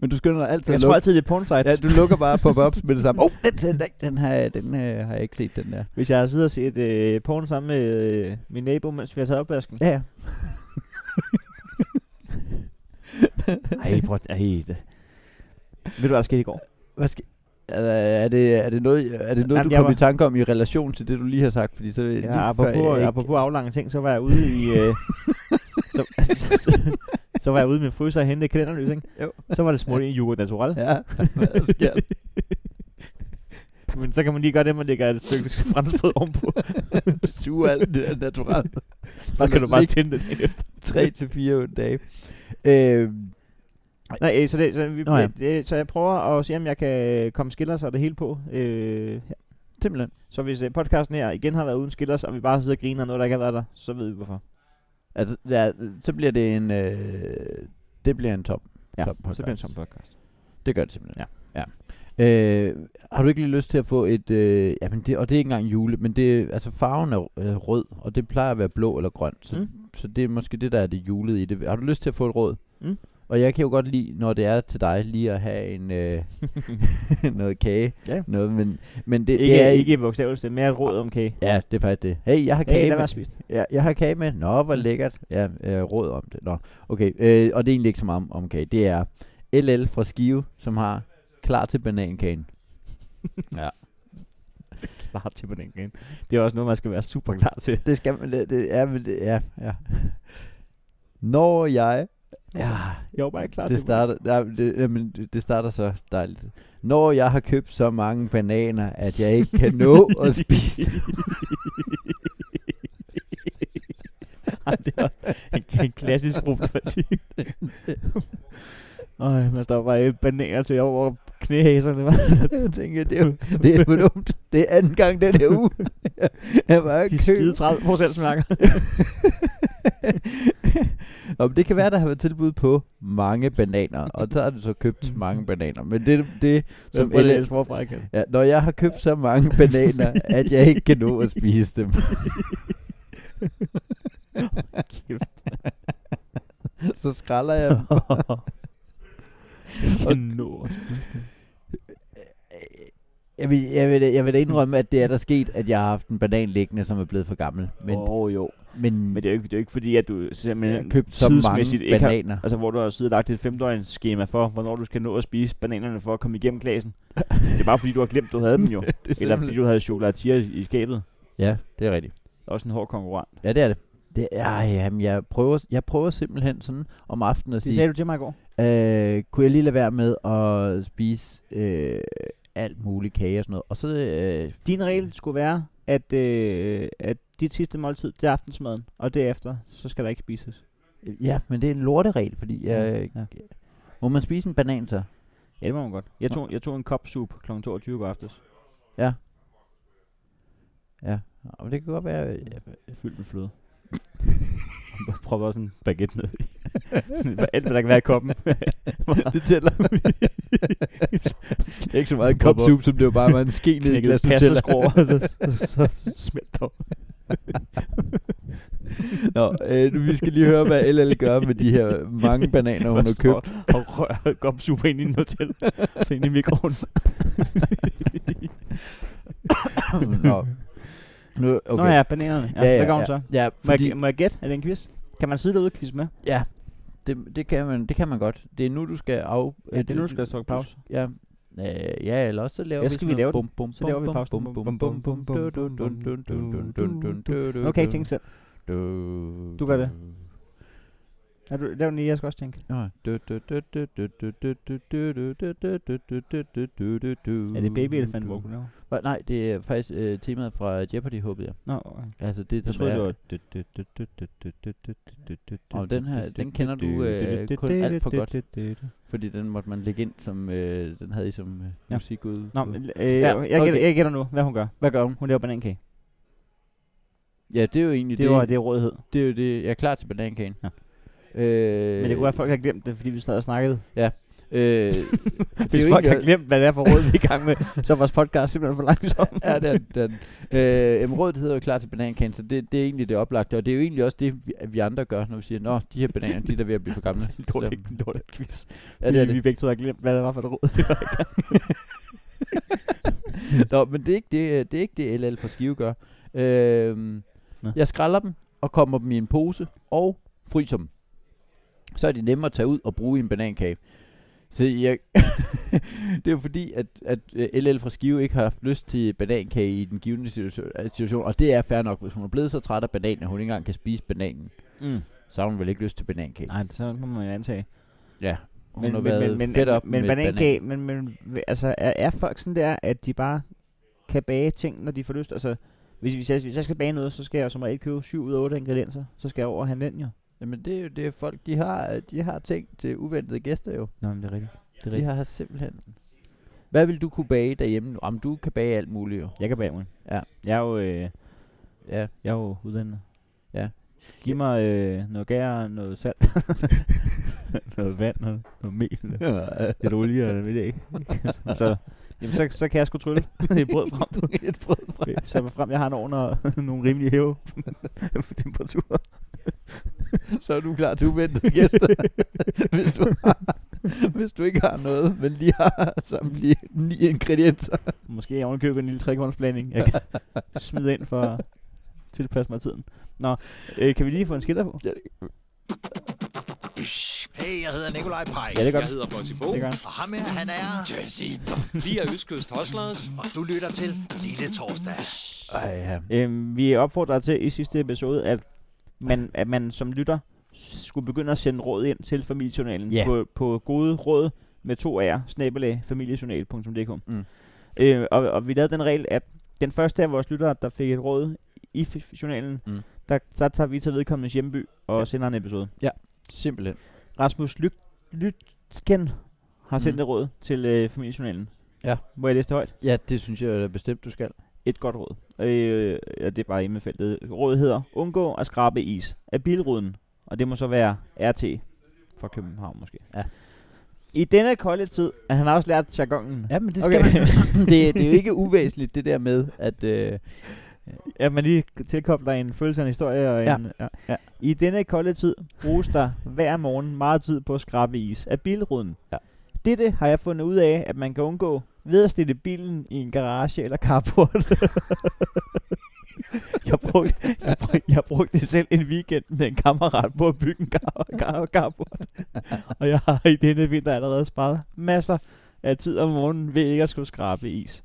Speaker 2: Men du skynder dig altid
Speaker 3: jeg
Speaker 2: at
Speaker 3: tror
Speaker 2: lukke.
Speaker 3: altid, det er porn sites.
Speaker 2: Ja, du lukker bare pop-ups med det samme. Åh, oh, den, den, den, har, jeg- den øh, har jeg ikke set, den der.
Speaker 3: Hvis jeg har siddet og set øh, porn sammen med øh, min nabo, mens vi har taget opvasken.
Speaker 2: Ja, ja.
Speaker 3: Ej, prøv at... Ej, det. Ved du, hvad der skete i går?
Speaker 2: Hvad skal er, er, det, er det noget, er det noget
Speaker 3: Jamen,
Speaker 2: du
Speaker 3: jeg
Speaker 2: kom
Speaker 3: var-
Speaker 2: i tanke om i relation til det, du lige har sagt? Fordi så lige før
Speaker 3: Ja, apropos,
Speaker 2: jeg-
Speaker 3: apropos aflange ting, så var jeg ude i... Øh, så, altså, så, så, så, var jeg ude med fryser og hente kalenderlys, ikke?
Speaker 2: Jo.
Speaker 3: Så var det smurt ind i Jura Natural.
Speaker 2: Ja, hvad sker der?
Speaker 3: Men så kan man lige gøre det, man lægger et stykke franskbrød ovenpå.
Speaker 2: Det suger alt det der naturalt.
Speaker 3: så kan du bare tænde det.
Speaker 2: Tre til fire dage. Øh,
Speaker 3: Nej, øh, så, det, så, vi,
Speaker 2: Nå ja.
Speaker 3: det, så jeg prøver at se, om jeg kan komme skillers og det hele på. Øh, her.
Speaker 2: simpelthen.
Speaker 3: så hvis øh, podcasten her igen har været uden skillers, og vi bare sidder og griner af noget, der ikke har været der, så ved vi hvorfor.
Speaker 2: Altså, ja, så bliver det en... Øh, det bliver en top.
Speaker 3: Ja,
Speaker 2: top
Speaker 3: så bliver det som podcast.
Speaker 2: Det gør det simpelthen. Ja. ja. Øh, har du ikke lige lyst til at få et... Øh, jamen det, og det er ikke engang jule, men det, altså farven er øh, rød, og det plejer at være blå eller grøn. Så, mm.
Speaker 3: Mm.
Speaker 2: så det er måske det, der er det julede i det. Har du lyst til at få et råd?
Speaker 3: Mm.
Speaker 2: Og jeg kan jo godt lide, når det er til dig, lige at have en, øh, noget kage.
Speaker 3: Ja.
Speaker 2: Noget, men, men det,
Speaker 3: Ikke,
Speaker 2: det er
Speaker 3: ikke i bogstavelsen, det er mere et råd om kage.
Speaker 2: Ja, det er faktisk det. Hey, jeg har kage
Speaker 3: Kage, lad
Speaker 2: med.
Speaker 3: være spist.
Speaker 2: Ja, jeg har kage med. Nå, hvor lækkert. Ja, øh, råd om det. Nå, okay. Øh, og det er egentlig ikke så meget om, om kage. Det er LL fra Skive, som har klar til banankagen.
Speaker 3: Klar til banankagen. Det er også noget, man skal være super klar til.
Speaker 2: Det skal man, det, det er, men det, ja, ja. Når jeg Ja,
Speaker 3: Jeg var bare ikke klar til
Speaker 2: det starter, ja, det, jamen, det- det starter så dejligt. Når jeg har købt så mange bananer, at jeg ikke kan nå at spise dem.
Speaker 3: Ej, det var en, en klassisk problematik. Øj, man står bare i bananer til over knæhæserne. hva'?
Speaker 2: Jeg tænker, det er, jo- det er for dumt. Det er anden gang den her uge. Jeg bare
Speaker 3: De skide 30 procent smager.
Speaker 2: Nå, men det kan være, der har været tilbud på mange bananer, og så har du så købt mange bananer. Men det, det
Speaker 3: Som
Speaker 2: som
Speaker 3: jeg
Speaker 2: LS,
Speaker 3: læse forfra igen.
Speaker 2: ja, når jeg har købt så mange bananer, at jeg ikke kan nå at spise dem,
Speaker 3: Kæft.
Speaker 2: så skralder jeg dem.
Speaker 3: Jeg når.
Speaker 2: Jeg vil, jeg, vil, jeg vil da indrømme, at det er der sket, at jeg har haft en banan liggende, som er blevet for gammel. Men,
Speaker 3: Men,
Speaker 2: oh.
Speaker 3: oh, jo.
Speaker 2: men,
Speaker 3: Men det er jo ikke, det er jo ikke fordi, at du
Speaker 2: jeg har
Speaker 3: simpelthen
Speaker 2: købt så
Speaker 3: tidsmæssigt
Speaker 2: mange
Speaker 3: ikke har,
Speaker 2: bananer.
Speaker 3: Altså, hvor du har siddet og lagt et femdøgnsskema for, hvornår du skal nå at spise bananerne for at komme igennem klassen. det er bare fordi, du har glemt, du havde dem jo.
Speaker 2: det
Speaker 3: Eller fordi, du havde chokolatier i i skabet.
Speaker 2: Ja, det er rigtigt.
Speaker 3: Det er også en hård konkurrent.
Speaker 2: Ja, det er det. det ej, jamen, jeg, prøver, jeg prøver simpelthen sådan om aftenen at sige,
Speaker 3: du til mig i går.
Speaker 2: øh, kunne jeg lige lade være med at spise øh, alt muligt kage og sådan noget. Og så, øh,
Speaker 3: Din regel skulle være, at, øh, at dit sidste måltid, det er aftensmaden. Og derefter, så skal der ikke spises.
Speaker 2: ja, men det er en lorteregel, fordi jeg,
Speaker 3: Ja.
Speaker 2: ja. må man spise en banan så?
Speaker 3: Ja, det må man godt. Jeg tog, jeg tog en kop soup kl. 22 i går aftes.
Speaker 2: Ja, og det kan godt være, øh,
Speaker 3: Fyldt med fløde. Jeg prøvede også en baguette ned i. Alt, hvad der kan være i koppen.
Speaker 2: det tæller. det er ikke så meget en kop
Speaker 3: Hvorfor?
Speaker 2: soup, som det var bare var en ske ned i et
Speaker 3: knækkede
Speaker 2: glas
Speaker 3: pasta
Speaker 2: Nutella.
Speaker 3: skruer, så, så, så smelter det.
Speaker 2: Nå, øh, vi skal lige høre, hvad LL gør med de her mange bananer, hun har
Speaker 3: Først
Speaker 2: købt.
Speaker 3: Og, og rør gomsuppe ind i en hotel, så ind i mikroen.
Speaker 2: Nå. Nu, okay.
Speaker 3: Okay. Nå ja, bananerne. Ja, ja, ja, hvad gør hun så?
Speaker 2: Ja,
Speaker 3: Må,
Speaker 2: fordi,
Speaker 3: jeg, må jeg gætte? Er det en quiz? Kan man sidde derude og quizze med?
Speaker 2: ja det, det, kan man, det kan man godt. Det er nu, du skal af... øh,
Speaker 3: Ja, det er nu, du skal trykke Øh, pause.
Speaker 2: Ja, øh, ja, eller også så laver
Speaker 3: Ja,
Speaker 2: vi
Speaker 3: skal
Speaker 2: sådan
Speaker 3: vi
Speaker 2: noget
Speaker 3: lave den?
Speaker 2: bum, bum,
Speaker 3: Så laver vi
Speaker 2: bum,
Speaker 3: pausen.
Speaker 2: bum,
Speaker 3: Bum,
Speaker 2: bum, bum,
Speaker 3: bum, bum,
Speaker 2: dun, dun,
Speaker 3: bum,
Speaker 2: dun, dun, dun, dun, dun, dun, dun,
Speaker 3: Nu kan jeg ikke tænke selv.
Speaker 2: dun,
Speaker 3: Du gør det.
Speaker 2: dun.
Speaker 3: Er du, lav den lige, jeg skal også tænke.
Speaker 2: Ja.
Speaker 3: Er det Baby Elephant Walk? No.
Speaker 2: Hva- Nej, det er faktisk øh, temaet fra Jeopardy, håbede jeg.
Speaker 3: Nå, okay.
Speaker 2: Altså det,
Speaker 3: jeg
Speaker 2: som
Speaker 3: troede, det
Speaker 2: er...
Speaker 3: var...
Speaker 2: Og den her, den kender du øh, kun alt for godt, fordi den måtte man lægge ind som... Øh, den havde I som øh,
Speaker 3: Ja.
Speaker 2: musikudgave.
Speaker 3: Nå, men, øh,
Speaker 2: Ja,
Speaker 3: jeg, gætter,
Speaker 2: okay.
Speaker 3: jeg gætter nu, hvad hun gør.
Speaker 2: Hvad gør hun?
Speaker 3: Hun laver banankage.
Speaker 2: Ja, det er jo egentlig det.
Speaker 3: Det var det er rådighed.
Speaker 2: det er jo det. Jeg er klar til banankagen.
Speaker 3: Ja.
Speaker 2: Øh,
Speaker 3: Men det kunne være, at folk har glemt det, fordi vi sad og snakkede.
Speaker 2: Øh, det
Speaker 3: Hvis
Speaker 2: er jo
Speaker 3: folk
Speaker 2: egentlig-
Speaker 3: har glemt, hvad det er for råd, vi er i gang med, så er vores podcast simpelthen for langsom.
Speaker 2: ja, det er den. Øh, jamen, rådet hedder jo klar til banankagen, så det, det er egentlig det oplagte. Og det er jo egentlig også det, vi, vi andre gør, når vi siger, nå, de her bananer, de er der ved at blive for gamle.
Speaker 3: Det er en dårlig, en dårlig quiz.
Speaker 2: Ja, det er
Speaker 3: Vi
Speaker 2: det.
Speaker 3: begge to har glemt, hvad det var for et råd.
Speaker 2: Nå, men det er ikke det, øh, det, er ikke det LL fra Skive gør. Øh,
Speaker 3: Nå.
Speaker 2: jeg skralder dem og kommer dem i en pose og fryser dem. Så er de nemme at tage ud og bruge i en banankage. Så jeg, det er jo fordi, at, at øh, LL fra Skive ikke har haft lyst til banankage i den givende situation, situation, og det er fair nok, hvis hun er blevet så træt af bananen, at hun ikke engang kan spise bananen.
Speaker 3: Mm.
Speaker 2: så har hun vel ikke lyst til banankage.
Speaker 3: Nej, så må man jo antage.
Speaker 2: Ja, hun men, har været men, fedt op
Speaker 3: men,
Speaker 2: med
Speaker 3: banankage, men, men altså, er, er folk sådan der, at de bare kan bage ting, når de får lyst? Altså, hvis, hvis, jeg, hvis jeg skal bage noget, så skal jeg som regel købe 7 ud af 8 ingredienser. Så skal jeg over og handle ind, jo.
Speaker 2: Jamen det er jo det, folk de har, øh, de har ting til uventede gæster jo.
Speaker 3: Nå, men det er rigtigt. Det er
Speaker 2: De
Speaker 3: rigtigt.
Speaker 2: har simpelthen... Hvad vil du kunne bage derhjemme nu? Om du kan bage alt muligt jo.
Speaker 3: Jeg kan bage mig.
Speaker 2: Ja.
Speaker 3: Jeg er jo, øh,
Speaker 2: Ja.
Speaker 3: jeg er jo uddannet.
Speaker 2: Ja.
Speaker 3: Giv mig øh, noget gær, noget salt, noget vand, noget, noget mel, noget lidt olie, eller hvad ved jeg ikke. så, jamen, så, så kan jeg sgu trylle et brød frem.
Speaker 2: Et brød fra.
Speaker 3: Så jeg frem, jeg har en ovn og nogle rimelige hæve temperaturer.
Speaker 2: Så er du klar til uventede gæster. hvis, du har, hvis du ikke har noget, men lige har samtlige ni ingredienser.
Speaker 3: Måske jeg købe en lille trekornsblanding, jeg kan smide ind for at tilpasse mig tiden. Nå, øh, kan vi lige få en skiller på?
Speaker 5: Hey, jeg hedder Nikolaj Pajs.
Speaker 3: Ja, det er
Speaker 6: Jeg
Speaker 3: godt.
Speaker 6: hedder Bossy Bo.
Speaker 3: Det er godt.
Speaker 5: Og ham her, han er...
Speaker 4: Jazzy.
Speaker 6: Vi er Østkyst Hustlers.
Speaker 5: Og du lytter til Lille Torsdag.
Speaker 2: Ej, ja.
Speaker 3: Øhm, vi opfordrer til i sidste episode, at man, at man som lytter skulle begynde at sende råd ind til familiejournalen
Speaker 2: Ja.
Speaker 3: på, på gode råd med to R'er, snabelag, familiejournal.dk.
Speaker 2: Mm.
Speaker 3: Øh, og, og vi lavede den regel, at den første af vores lyttere, der fik et råd i f- journalen,
Speaker 2: Mm.
Speaker 3: der, der tager vi til vedkommendes hjemby og
Speaker 2: Ja.
Speaker 3: sender en episode.
Speaker 2: Simpelthen.
Speaker 3: Rasmus Lyt, Lytken har sendt
Speaker 2: Mm.
Speaker 3: et råd til øh, familiejournalen.
Speaker 2: Ja.
Speaker 3: Må jeg læse det højt?
Speaker 2: Ja, det synes jeg da bestemt, du skal.
Speaker 3: Et godt råd. Øh, ja, det er bare emnefeltet. Rådet hedder, undgå at skrabe is af bilruden. Og det må så være RT fra København måske.
Speaker 2: Ja.
Speaker 3: I denne kolde tid, at han har også lært jargonen.
Speaker 2: Ja, men det
Speaker 3: skal
Speaker 2: man. det, det er jo ikke uvæsentligt, det der med, at... Øh,
Speaker 3: Ja, man lige tilkobler en følelse af en historie. Og
Speaker 2: Ja.
Speaker 3: En, ja.
Speaker 2: Ja.
Speaker 3: I denne kolde tid bruges der hver morgen meget tid på at skrabe is af bilruden.
Speaker 2: Ja.
Speaker 3: Dette har jeg fundet ud af, at man kan undgå ved at stille bilen i en garage eller carport. jeg, brugte, jeg, brugte, jeg brugte selv en weekend med en kammerat på at bygge en gar- gar- carport. og jeg har i denne vinter allerede sparet masser af tid om morgenen ved ikke at skulle skrabe is.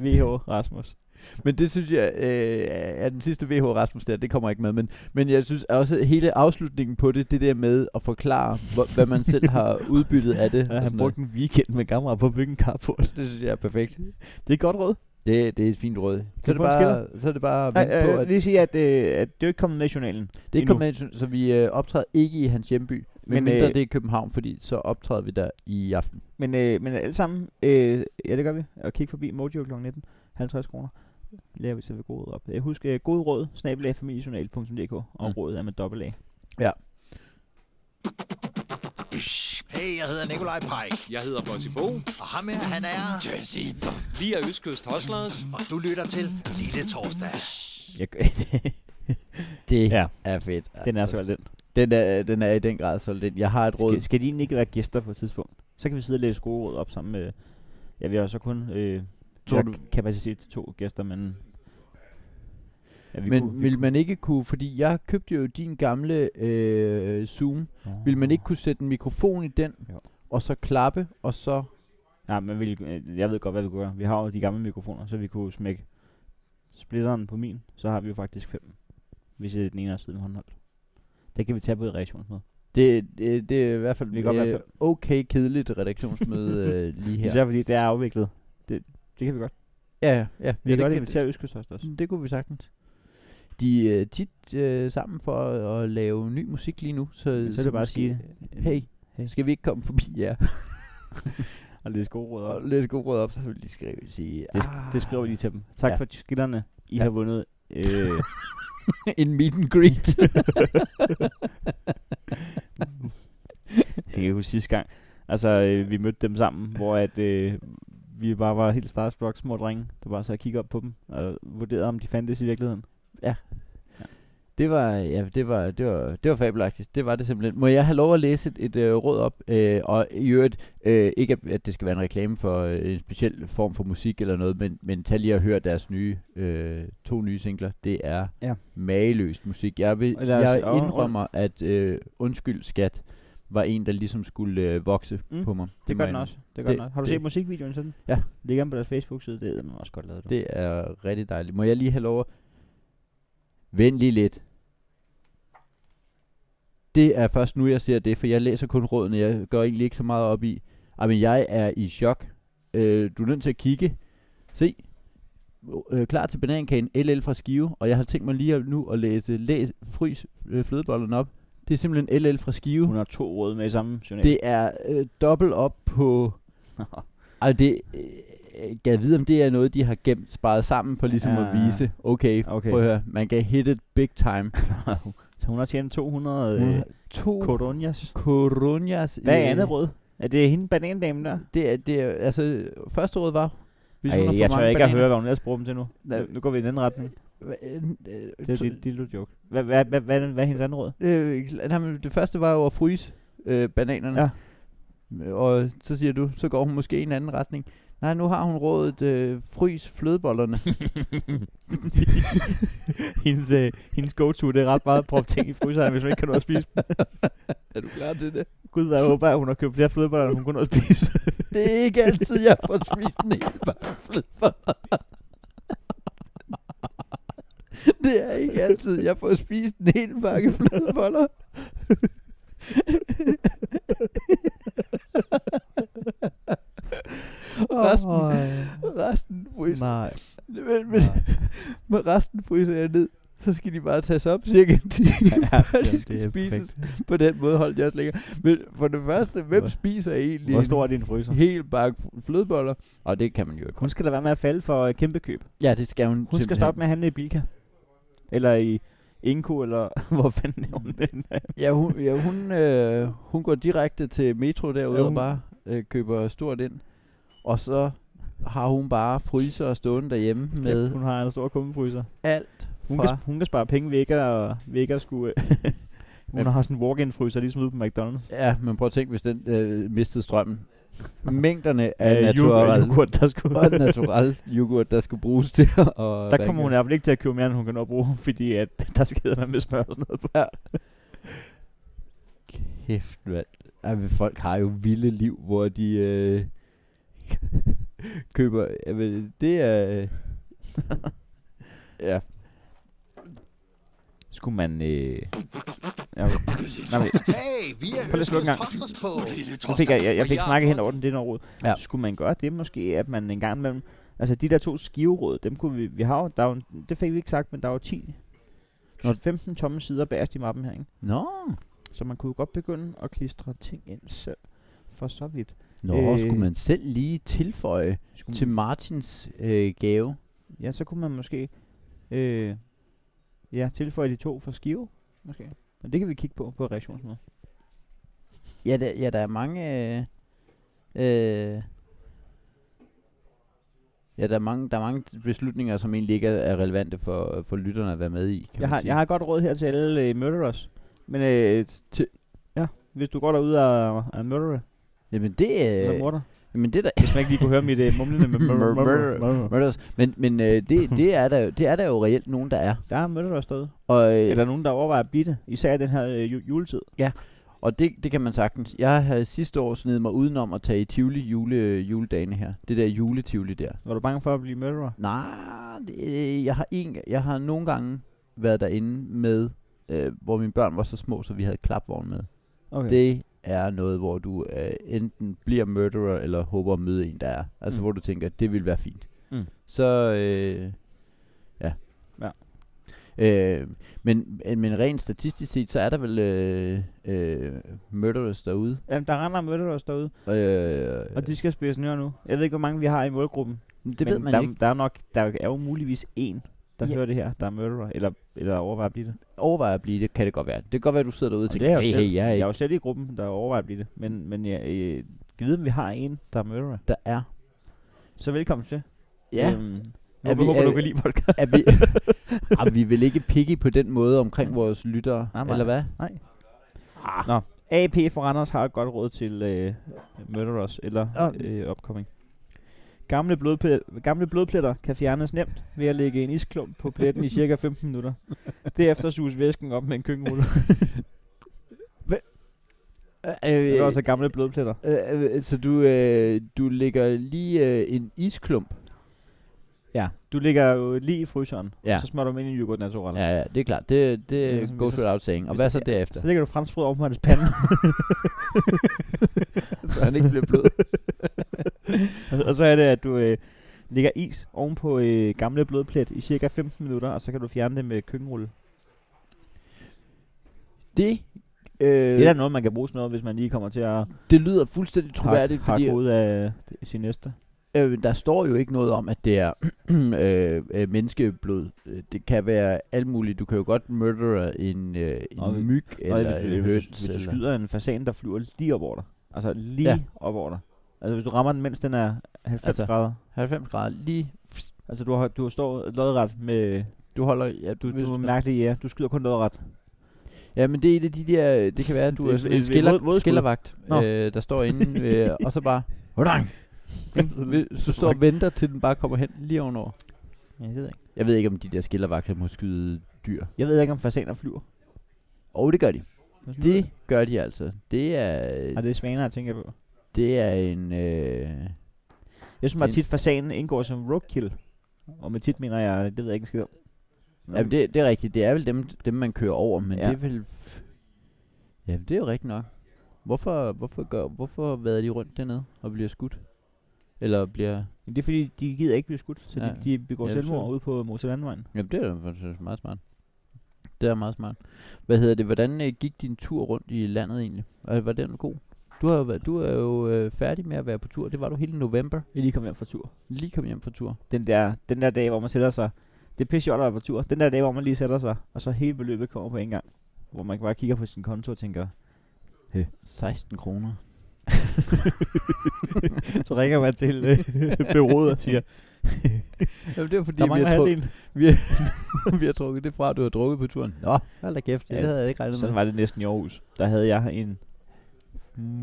Speaker 3: VH Rasmus.
Speaker 2: men det synes jeg, øh, at den sidste VH Rasmus der, det kommer ikke med. Men, men jeg synes også, at hele afslutningen på det, det der med at forklare, hvor, hvad man selv har udbyttet af det. og
Speaker 3: Ja, han
Speaker 2: sådan noget.
Speaker 3: brugte en weekend med kamera på at bygge en carport.
Speaker 2: Det synes jeg er perfekt.
Speaker 3: Det er et godt råd.
Speaker 2: Det, det er et fint råd. Så er det
Speaker 3: få en
Speaker 2: bare, så er det bare at
Speaker 3: Nej,
Speaker 2: vente på,
Speaker 3: øh,
Speaker 2: at
Speaker 3: lige sige, at, øh, at det er jo ikke komdet med i journalen.
Speaker 2: det ikke
Speaker 3: endnu.
Speaker 2: kommer ind, så vi øh, optræder ikke i hans hjemby. Men,
Speaker 3: Men,
Speaker 2: mindre
Speaker 3: øh,
Speaker 2: det er i København, fordi så optræder vi der i aften.
Speaker 3: Men, øh, men alle sammen, øh, ja det gør vi. Og kig forbi Mojo kl. 19. 50 kroner. Lærer vi til ved gode råd op. Øh, Husk øh, gode råd, snabelagfamiliejournal.dk og
Speaker 2: Mm.
Speaker 3: rådet er med dobbelt A.
Speaker 5: Hey, jeg hedder Nikolaj Pike.
Speaker 6: Jeg hedder Bossy Bo.
Speaker 5: Og ham her, han er...
Speaker 4: Jesse.
Speaker 6: Vi er Østkyst Hoslers.
Speaker 5: Og du lytter til Lille Torsdag.
Speaker 3: Jeg,
Speaker 2: Det
Speaker 3: Ja.
Speaker 2: er fedt. Altså.
Speaker 3: den er så den.
Speaker 2: Den er, den er i den grad solgt ind. Jeg har et råd.
Speaker 3: Skal, skal de egentlig ikke være gæster på et tidspunkt? Så kan vi sidde og læse gode råd op sammen med... Ja, vi har så kun øh,
Speaker 2: Tror
Speaker 3: vi har
Speaker 2: du-
Speaker 3: k- kapacitet til to gæster, men... Ja, vi
Speaker 2: Men
Speaker 3: kunne- vi
Speaker 2: vil man ikke kunne, fordi jeg købte jo din gamle øh, Zoom,
Speaker 3: kunne-
Speaker 2: vil man ikke kunne sætte en mikrofon i den,
Speaker 3: Jo.
Speaker 2: og så klappe, og så...
Speaker 3: Nej, men vi, øh, jeg ved godt, hvad vi kunne gøre. Vi har jo de gamle mikrofoner, så vi kunne smække splitteren på min. Så har vi jo faktisk fem, hvis øh, den ene af siden håndholdt. Det kan vi tage på et reaktionsmøde.
Speaker 2: Det, det, det er i hvert fald
Speaker 3: Det kan godt være
Speaker 2: øh, okay kedeligt redaktionsmøde øh, lige
Speaker 3: Ja.
Speaker 2: her.
Speaker 3: Især fordi det er afviklet. Det, det kan vi godt.
Speaker 2: Ja, ja. ja
Speaker 3: Vi kan godt
Speaker 2: det,
Speaker 3: invitere Østkyst også. også.
Speaker 2: det, det kunne vi sagtens. De er øh, tit øh, sammen for at, at lave ny musik lige nu, så,
Speaker 3: Men så er det bare at
Speaker 2: måske-
Speaker 3: sige,
Speaker 2: Hey,
Speaker 3: Hey.
Speaker 2: skal vi ikke komme forbi jer?
Speaker 3: og læse gode råd op.
Speaker 2: Og læs god råd op, så vil de skrive sige,
Speaker 3: Det, sk- det skriver vi lige til dem. Tak
Speaker 2: Ja.
Speaker 3: ja. for skillerne. I
Speaker 2: Ja.
Speaker 3: ja. har vundet. Øh,
Speaker 2: en meet and greet.
Speaker 3: jeg kan huske sidste gang. Altså, øh, vi mødte dem sammen, hvor at, øh, vi bare var helt starstruck små drenge, der bare så at kigge op på dem og vurderede, om de fandtes i virkeligheden.
Speaker 2: Det var, ja, det var, det var, det var fabelagtigt. Det var det simpelthen. Må jeg have lov at læse et, et øh, råd op? Øh, og i øvrigt, øh, ikke at, at det skal være en reklame for øh, en speciel form for musik eller noget, men, men tag lige og hør deres nye, øh, to nye singler. Det er
Speaker 3: Ja.
Speaker 2: mageløst musik. Jeg, vil,
Speaker 3: Og lad os-
Speaker 2: jeg
Speaker 3: og-
Speaker 2: indrømmer, at øh, Undskyld Skat var en, der ligesom skulle øh, vokse mm.
Speaker 3: Mm,
Speaker 2: på mig.
Speaker 3: Det
Speaker 2: må
Speaker 3: gør
Speaker 2: jeg
Speaker 3: den
Speaker 2: indrømme.
Speaker 3: også. Det gør
Speaker 2: Det-
Speaker 3: den også. Har du
Speaker 2: det-
Speaker 3: set musikvideoen sådan?
Speaker 2: Ja.
Speaker 3: Ligger den på deres Facebook-side? Det er man også godt lavet. Det.
Speaker 2: Det er rigtig dejligt. Må jeg lige have lov at... Vent lige lidt. Det er først nu, jeg ser det, for jeg læser kun rådene. Jeg går egentlig ikke så meget op i. Ej, men jeg er i chok. Øh, du er nødt til at kigge. Se. Øh, klar til banankagen. LL fra Skive. Og jeg har tænkt mig lige at- nu at læse læs, frys øh, flødebollen op. Det er simpelthen LL fra Skive.
Speaker 3: Hun har to råd med i samme journal.
Speaker 2: Det er øh, dobbelt op på... Altså det, øh, jeg vide, om det er noget, de har gemt, sparet sammen for ligesom ja.
Speaker 3: Ja,
Speaker 2: at
Speaker 3: ja.
Speaker 2: vise, okay, okay,
Speaker 3: Okay.
Speaker 2: prøv at høre, man kan hit it big time.
Speaker 3: så hun har tjent 200
Speaker 2: Hun
Speaker 3: øh,
Speaker 2: har to
Speaker 3: coronas.
Speaker 2: Coronias.
Speaker 3: Hvad
Speaker 2: øh,
Speaker 3: er andet råd? Er det hende banandamen der?
Speaker 2: Det er, det er, altså, første råd var, hvis hun har
Speaker 3: Ej,
Speaker 2: for
Speaker 3: jeg tør
Speaker 2: mange
Speaker 3: ikke at
Speaker 2: bananer.
Speaker 3: høre, hvad hun ellers bruger dem til nu.
Speaker 2: Nej.
Speaker 3: Nu- Nu går vi i den anden retning.
Speaker 2: Hva- øh, øh,
Speaker 3: Det er
Speaker 2: to-
Speaker 3: dit lille joke. Hvad, hvad, hvad, hvad, hvad er hendes andet råd?
Speaker 2: øh, nej, men det første var jo at fryse øh, bananerne. Øh,
Speaker 3: Ja.
Speaker 2: Og så siger du, så går hun måske i en anden retning. Nej, nu har hun rådet øh, frys flødebollerne.
Speaker 3: hendes, øh, hendes go-to, det er ret meget at proppe ting i fryseren, hvis man ikke kan nå at spise dem.
Speaker 2: er du klar til det?
Speaker 3: Gud, hvad jeg håber, at hun har købt flere flødeboller, end hun kunne nå at spise.
Speaker 2: Det er ikke altid, jeg får spist en hel vaffel. Det er ikke altid, jeg får spist en hel bakke flødeboller.
Speaker 1: Rasmus.
Speaker 2: Åh,
Speaker 1: Resten fryser.
Speaker 2: nej.
Speaker 1: Men, men,
Speaker 2: nej.
Speaker 1: men resten fryser jeg ned. Så skal de bare tages op cirka en time,
Speaker 2: Ja,
Speaker 1: ja, før de
Speaker 2: jamen,
Speaker 1: skal
Speaker 2: det er
Speaker 1: spises.
Speaker 2: perfekt.
Speaker 1: På den måde holdt jeg også længere. Men for det første, hvem
Speaker 2: Hvor-
Speaker 1: spiser egentlig
Speaker 3: Hvor
Speaker 1: en
Speaker 3: stor er din fryser?
Speaker 1: hel bakke flødeboller? Og det kan man jo ikke.
Speaker 3: Hun skal da være med at falde for øh, kæmpe køb.
Speaker 2: Ja, det skal hun,
Speaker 3: Hun skal stoppe med at handle i Bilka. Eller i Inko, eller hvor fanden er hun den?
Speaker 1: Ja, hun, ja, hun, øh, hun går direkte til Metro derude
Speaker 3: Ja,
Speaker 1: ja,
Speaker 3: hun-
Speaker 1: og bare øh, køber stort ind. Og så har hun bare fryser og stående derhjemme med
Speaker 3: Hun har en stor kummefryser.
Speaker 1: alt
Speaker 3: Hun,
Speaker 1: fra...
Speaker 3: kan, hun kan spare penge ved ikke at, ved ikke at skulle... øh, hun
Speaker 2: Men-
Speaker 3: har sådan en walk-in-fryser, ligesom ude på McDonald's.
Speaker 2: Ja, men prøv at tænke, hvis den øh, mistede strømmen. Mængderne af
Speaker 3: Øh, yoghurt-
Speaker 2: natural,
Speaker 3: yoghurt, der skulle...
Speaker 2: og natural yoghurt, der skulle bruges til at
Speaker 3: Der kommer hun i hvert fald ikke til at købe mere, end hun kan nå at bruge, fordi at der skal man med smør og sådan noget på.
Speaker 2: Kæft, mand. Ej, men folk har jo vilde liv, hvor de øh, køber... Jamen, det er... Øh, ja,
Speaker 3: Skulle man... Øh... Ja, okay. Nej, men,
Speaker 5: Hey, vi
Speaker 3: Prøv
Speaker 5: er
Speaker 3: lige at slukke
Speaker 5: Øskes
Speaker 3: en gang.
Speaker 5: Torsdags på.
Speaker 3: nu fik jeg, jeg, jeg fik snakket hen over den, det er noget råd.
Speaker 2: Ja.
Speaker 3: Skulle man gøre det måske, at man en gang imellem... Altså de der to skiveråd, dem kunne vi... vi har jo, der er jo, en- det fik vi ikke sagt, men der er jo 10...
Speaker 2: Nå.
Speaker 3: 15 tomme sider bagerst i mappen her, ikke?
Speaker 2: Nå,
Speaker 3: Så man kunne jo godt begynde at klistre ting ind selv. For så vidt.
Speaker 2: Nå øh, Mm.
Speaker 3: Øh.
Speaker 2: skulle man selv lige tilføje
Speaker 3: Skulle
Speaker 2: til Martins øh, gave?
Speaker 3: Ja, så kunne man måske øh, ja, tilføje de to for skive, måske. Men det kan vi kigge på på reaktionsmåde.
Speaker 2: Ja, der, ja, der er mange... Øh, øh, ja, der er mange, der er mange beslutninger, som egentlig ikke er, er relevante for, for lytterne at være med i, kan
Speaker 3: Jeg
Speaker 2: man
Speaker 3: har,
Speaker 2: sige.
Speaker 3: jeg har et godt råd her til alle øh, murderers. Men øh, til, ja, hvis du går derude og er murderer,
Speaker 2: Jamen, det,
Speaker 3: øh, så
Speaker 2: øh,
Speaker 3: morder.
Speaker 2: jamen, det er da
Speaker 3: Hvis man ikke lige kunne høre mit øh, mumlende med mur-
Speaker 2: Murderer.
Speaker 3: murderer. murderer.
Speaker 2: Murders. Men, men øh, det, det, er der, jo- det er der jo reelt nogen, der er.
Speaker 3: Der er murderers derude.
Speaker 2: Og, øh,
Speaker 3: Eller nogen, der overvejer at blive det. Især i den her øh, ju- juletid.
Speaker 2: og det, det kan man sagtens. Jeg har sidste år snedet mig udenom at tage i Tivoli jule, juledagene her. Det der juletivoli der.
Speaker 3: Var du bange for at blive murderer?
Speaker 2: Nej, det, jeg, har en, jeg har nogle gange været derinde med, øh, hvor mine børn var så små, så vi havde klapvogn med.
Speaker 3: Okay.
Speaker 2: Det er noget, hvor du øh, enten bliver murderer, eller håber at møde en, der er. Altså,
Speaker 3: Mm.
Speaker 2: mm. hvor du tænker, det vil være fint.
Speaker 3: Mm.
Speaker 2: Så, øh, ja.
Speaker 3: Ja.
Speaker 2: Øh, men, men- men rent statistisk set, så er der vel øh, øh, murderers derude.
Speaker 3: Jamen, der render murderers derude,
Speaker 2: Øh,
Speaker 3: og de skal spise nyere nu. Jeg ved ikke, hvor mange vi har i målgruppen.
Speaker 2: det ved
Speaker 3: men
Speaker 2: man
Speaker 3: der,
Speaker 2: ikke.
Speaker 3: Der er, nok, der er jo muligvis en, der
Speaker 2: Ja.
Speaker 3: hører det her, der er murderer, eller, eller overvejer at blive det.
Speaker 2: Overvej at blive det, kan det godt være. Det kan godt være, at du sidder derude og
Speaker 3: Og det er
Speaker 2: tænker,
Speaker 3: jo
Speaker 2: hey,
Speaker 3: selv.
Speaker 2: hey, jeg er
Speaker 3: Jeg er
Speaker 2: ikke.
Speaker 3: jo slet ikke i gruppen, der overvejer at blive det, men, men jeg øh, kan vide, om vi har en, der er murderer.
Speaker 2: Der er.
Speaker 3: Så velkommen til.
Speaker 2: Ja.
Speaker 3: Øhm,
Speaker 2: Er
Speaker 3: jeg
Speaker 2: vi-
Speaker 3: håber,
Speaker 2: er-
Speaker 3: du kan lide podcast.
Speaker 2: Er vi, ah, vi vil ikke pikke på den måde omkring vores lyttere,
Speaker 3: Nej, nej.
Speaker 2: eller hvad? Ah.
Speaker 3: AP for Randers har et godt råd til øh, murderers, eller
Speaker 2: Og-
Speaker 3: øh, upcoming. Gamle, blodpl- gamle blodpletter kan fjernes nemt ved at lægge en isklump på pletten i cirka 15 minutter. Derefter suges væsken op med en køkkenrulle. Det er også gamle blodpletter.
Speaker 2: Øh, øh, så du, øh, du lægger lige øh, en isklump.
Speaker 3: Du ligger jo lige i fryseren,
Speaker 2: Ja.
Speaker 3: ja. så smører du dem ind i yoghurt natural.
Speaker 2: Ja, ja, det er klart. Det, det
Speaker 3: Ja, som
Speaker 2: goes
Speaker 3: hvis-
Speaker 2: without saying. Og
Speaker 3: hvis
Speaker 2: hvad
Speaker 3: jeg-
Speaker 2: så derefter?
Speaker 3: Så lægger du franskbrød oven på hans pande,
Speaker 2: så han ikke bliver blød.
Speaker 3: og- og så er det, at du øh, lægger is oven på øh, gamle blodplet i cirka 15 minutter, og så kan du fjerne det med køkkenrulle.
Speaker 2: Det,
Speaker 3: Øh.
Speaker 2: øh,
Speaker 3: Det er da noget, man kan bruge sådan noget, hvis man lige kommer til at
Speaker 2: det lyder fuldstændig
Speaker 3: hakke
Speaker 2: troværdigt,
Speaker 3: hak
Speaker 2: fordi
Speaker 3: ud af det- sin næste.
Speaker 2: øh, der står jo ikke noget om, at det er øh, øh, menneskeblod. Øh, Det kan være alt muligt. Du kan jo godt murder en, øh,
Speaker 3: Nå, vi-
Speaker 2: en myg
Speaker 3: Eller,
Speaker 2: eller
Speaker 3: hvis,
Speaker 2: en
Speaker 3: du- hvis,
Speaker 2: høns.
Speaker 3: du- hvis du
Speaker 2: eller-
Speaker 3: skyder en fasan, der flyver lige op over dig. Altså lige
Speaker 2: Ja.
Speaker 3: ja. op over dig. Altså hvis du rammer den, mens den er
Speaker 2: Altså.
Speaker 3: 90 altså. grader.
Speaker 2: 90 grader lige.
Speaker 3: Altså du, har, du står lodret med...
Speaker 2: Du holder... Ja,
Speaker 3: Du,
Speaker 2: du,
Speaker 3: du er
Speaker 2: du,
Speaker 3: mærkelig, ja. Du skyder kun lodret.
Speaker 2: ja, men det er et af de der... Det kan være, at du
Speaker 3: Det
Speaker 2: er
Speaker 3: er
Speaker 2: sådan en
Speaker 3: et- et våd-
Speaker 2: skiller,
Speaker 3: vådskud.
Speaker 2: skillervagt,
Speaker 3: Nå.
Speaker 2: øh, der står inde, øh, og så bare... Hvordan? Så står og venter, til den bare kommer hen lige ovenover.
Speaker 3: Ja, Jeg ved, ikke.
Speaker 2: Jeg ved ikke, om de der skillervagter må skyde dyr.
Speaker 3: jeg ved ikke, om fasaner flyver.
Speaker 2: Og oh, det gør de.
Speaker 3: Det,
Speaker 2: Det gør de altså. Det er...
Speaker 3: Ah, det er svaner, jeg tænker på.
Speaker 2: Det er en... Øh,
Speaker 3: Jeg synes bare
Speaker 2: Men-
Speaker 3: tit, fasanen indgår som roadkill. Og med tit mener jeg, det ved jeg ikke, skal
Speaker 2: jamen, det, det er rigtigt. Det er vel dem, dem man kører over, men
Speaker 3: Ja.
Speaker 2: det er vel... Ja, det er jo rigtigt nok. Hvorfor, hvorfor, gør, hvorfor vader de rundt dernede og bliver skudt? Eller bliver...
Speaker 3: Men det er fordi, de gider ikke blive skudt, så ja.
Speaker 2: Ja.
Speaker 3: de, de begår
Speaker 2: Ja,
Speaker 3: ja,
Speaker 2: det er
Speaker 3: selvmord
Speaker 2: synd.
Speaker 3: ude på Motorlandvejen.
Speaker 2: Jamen, det er jo faktisk meget smart. Det er meget smart. Hvad hedder det? Hvordan øh, gik din tur rundt i landet egentlig? Og var den god? Du, har jo været, du er jo øh, færdig med at være på tur. Det var du hele november.
Speaker 3: Jeg lige kom hjem fra tur.
Speaker 2: Lige kom hjem fra tur.
Speaker 3: Den der, den der dag, hvor man sætter sig. Det er pisse sjovt at være på tur. Den der dag, hvor man lige sætter sig, og så hele beløbet kommer på en gang. Hvor man bare kigger på sin konto og tænker,
Speaker 2: 16 kroner.
Speaker 3: så ringer man til øh, bureauet og siger,
Speaker 2: Jamen, det var fordi,
Speaker 3: der
Speaker 2: vi
Speaker 3: mangler
Speaker 2: har, trukket,
Speaker 3: halvdelen.
Speaker 2: vi, har, vi har trukket det fra, at du har drukket på turen. Nå, hold da kæft. Ja,
Speaker 3: Ja,
Speaker 2: det havde jeg ikke regnet
Speaker 3: Sådan
Speaker 2: med.
Speaker 3: var det næsten i Aarhus. Der havde jeg en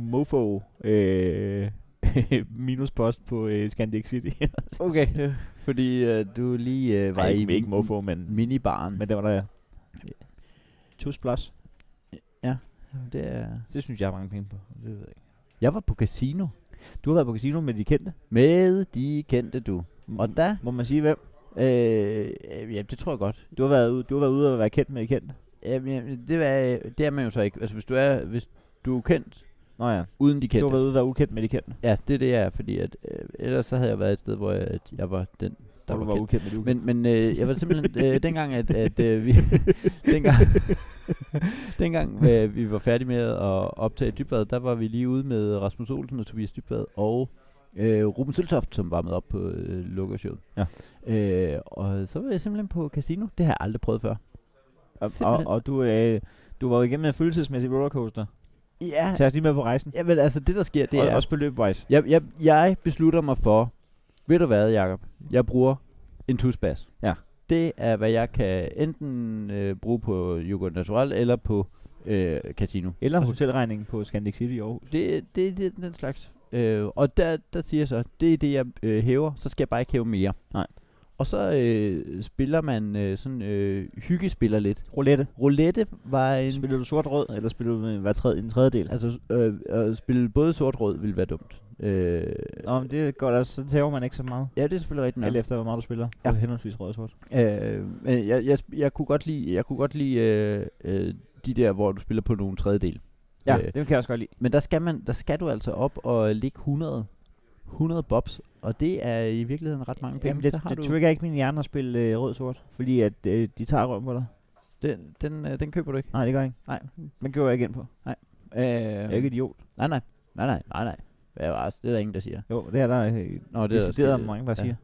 Speaker 3: mofo øh, minuspost på øh, Scandic City.
Speaker 2: Okay, fordi øh, du lige øh, var
Speaker 3: Var
Speaker 2: i
Speaker 3: ikke, ikke mofo, men,
Speaker 2: minibaren.
Speaker 3: men det var der. ja. Tus plus.
Speaker 2: Det er...
Speaker 3: Det synes jeg er mange penge på. Det ved jeg ikke.
Speaker 2: Jeg var på casino.
Speaker 3: Du har været på casino med de kendte.
Speaker 2: Med de kendte du. Og da...
Speaker 3: Må man sige hvem?
Speaker 2: Øh, øh, ja, det tror jeg godt.
Speaker 3: Du har været ude, du har været ude og være kendt med de kendte.
Speaker 2: Jamen, jamen, det, er, det er man jo så ikke. Altså, hvis du er, hvis du er kendt
Speaker 3: Nå ja.
Speaker 2: uden de
Speaker 3: Du har
Speaker 2: kendte.
Speaker 3: været ude og være ukendt med de kendte.
Speaker 2: Ja, det er det, jeg er. Fordi at, øh, ellers så havde jeg været et sted, hvor jeg, at jeg var den, der
Speaker 3: Der
Speaker 2: var,
Speaker 3: du var
Speaker 2: kendt.
Speaker 3: ukendt med de ukendte.
Speaker 2: Men, men øh, jeg var simpelthen, øh, dengang at, at øh, vi, dengang, dengang øh, vi var færdige med at optage Dybvad, der var vi lige ude med Rasmus Olsen og Tobias Dybvad og øh, Ruben Søltoft, som var med op på øh, lukkershowet.
Speaker 3: Ja.
Speaker 2: Øh, og så var jeg simpelthen på casino. Det har jeg aldrig prøvet før.
Speaker 3: og, og,
Speaker 2: simpelthen.
Speaker 3: og, du, øh, du var jo igennem en følelsesmæssig rollercoaster.
Speaker 2: Ja,
Speaker 3: Tag os lige med på rejsen.
Speaker 2: ja men altså det der sker, det
Speaker 3: og
Speaker 2: er...
Speaker 3: også beløbvejs.
Speaker 2: Jeg, jeg, jeg beslutter mig for, ved du hvad, Jacob? Jeg bruger en tusbas.
Speaker 3: Ja.
Speaker 2: Det er, hvad jeg kan enten øh, bruge på yoghurt natural eller på øh, casino.
Speaker 3: Eller hotelregningen på Scandic City i Aarhus.
Speaker 2: Det, det, det er den slags. Øh, og der, der siger jeg så, det er det, jeg øh, hæver, så skal jeg bare ikke hæve mere.
Speaker 3: Nej.
Speaker 2: Og så øh, spiller man øh, sådan øh, hyggespiller lidt.
Speaker 3: Roulette.
Speaker 2: Roulette var en...
Speaker 3: Spiller du sort-rød, eller spiller du med hver tredje, en tredjedel?
Speaker 2: Altså, øh, at spille både sort-rød ville være dumt. Øh,
Speaker 3: Nå, men det går da, så tager man ikke så meget.
Speaker 2: ja, det er selvfølgelig rigtigt
Speaker 3: Ja.
Speaker 2: nok.
Speaker 3: Alt efter, hvor meget du spiller.
Speaker 2: Ja.
Speaker 3: Ja. Henholdsvis rød og sort.
Speaker 2: Øh, men jeg, jeg, sp- jeg kunne godt lide, jeg kunne godt lide øh, øh, de der, hvor du spiller på nogle tredjedel.
Speaker 3: Ja,
Speaker 2: Øh,
Speaker 3: øh. det kan jeg også godt lide.
Speaker 2: Men der skal, man, der skal du altså op og ligge 100, 100 bobs, og det er i virkeligheden ret mange penge.
Speaker 3: Jamen, det,
Speaker 2: så har
Speaker 3: det
Speaker 2: du,
Speaker 3: trigger ikke min hjerne at spille øh, rød-sort, fordi at øh, de tager røven på dig.
Speaker 2: den, den, øh, den køber du ikke.
Speaker 3: Nej, det gør jeg ikke.
Speaker 2: Nej.
Speaker 3: Den gjorde jeg ikke ind på. Jeg er
Speaker 2: Øh,
Speaker 3: ikke idiot.
Speaker 2: nej, nej, nej, nej, nej, nej. Det er, altså, det er der ingen, der siger.
Speaker 3: Jo, det er der øh,
Speaker 2: Nå,
Speaker 3: det decideret
Speaker 2: også-
Speaker 3: mange, der
Speaker 2: ja.
Speaker 3: siger.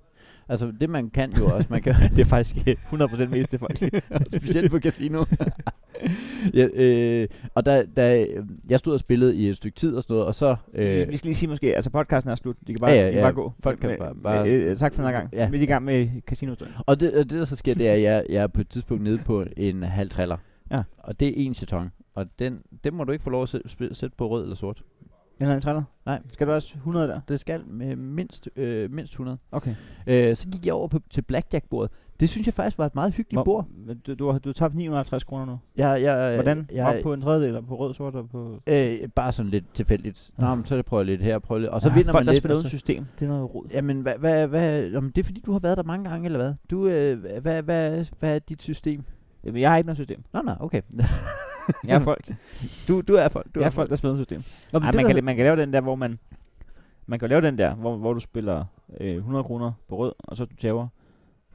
Speaker 2: Altså, det man kan jo også, man kan,
Speaker 3: det er faktisk øh, 100% mest det folk.
Speaker 2: Specielt på casino. ja, øh, og da, da øh, jeg stod og spillede i et stykke tid og sådan noget, og så...
Speaker 3: Øh.
Speaker 2: Øh,
Speaker 3: Vi skal lige sige måske, altså podcasten er slut. De kan bare,
Speaker 2: Ja, ja,
Speaker 3: de kan
Speaker 2: ja.
Speaker 3: bare gå.
Speaker 2: Folk kan
Speaker 3: Men-
Speaker 2: bare- bare-
Speaker 3: øh, øh, tak for den her gang.
Speaker 2: Ja.
Speaker 3: Ja. Vi er i gang med casino -historien.
Speaker 2: og, det, og det, der så sker, det er, at jeg, jeg er på et tidspunkt nede på en halv triller.
Speaker 3: Ja.
Speaker 2: Og det er en jeton. Og den, den må du ikke få lov at sæ- sp- sætte på rød eller sort.
Speaker 3: En eller anden træner?
Speaker 2: Nej.
Speaker 3: Skal du også 100 der?
Speaker 2: Det skal med mindst, øh, mindst 100.
Speaker 3: Okay.
Speaker 2: Øh, så gik jeg over på, til blackjack-bordet. Det synes jeg faktisk var et meget hyggeligt bord.
Speaker 3: Men Du, du, har, du har tabt 950 kroner nu.
Speaker 2: Jeg, jeg, øh,
Speaker 3: Hvordan?
Speaker 2: Jeg,
Speaker 3: Op på en tredjedel, og på rød, sort og på...
Speaker 2: Øh, bare sådan lidt tilfældigt. Nå,
Speaker 3: Ja.
Speaker 2: men så prøver jeg lidt her, prøver lidt. Og så
Speaker 3: Ah,
Speaker 2: vinder
Speaker 3: folk,
Speaker 2: man
Speaker 3: der
Speaker 2: lidt.
Speaker 3: spiller
Speaker 2: og
Speaker 3: uden
Speaker 2: så-
Speaker 3: system. Det er noget rod.
Speaker 2: Jamen, hvad, hvad, hvad, om det er fordi, du har været der mange gange, eller hvad? Du, øh, hvad, hvad, hvad, hvad er dit system?
Speaker 3: Jamen, jeg har ikke noget system.
Speaker 2: Nå, nej, okay.
Speaker 3: Jeg er folk.
Speaker 2: du, du er folk. Du
Speaker 3: Du jeg er folk, der spiller uden system.
Speaker 2: Nå, men
Speaker 3: Ej,
Speaker 2: det,
Speaker 3: man,
Speaker 2: der-
Speaker 3: kan, la- man kan lave den der, hvor man... Man kan lave den der, hvor, hvor du spiller øh, 100 kroner på rød, og så du tager.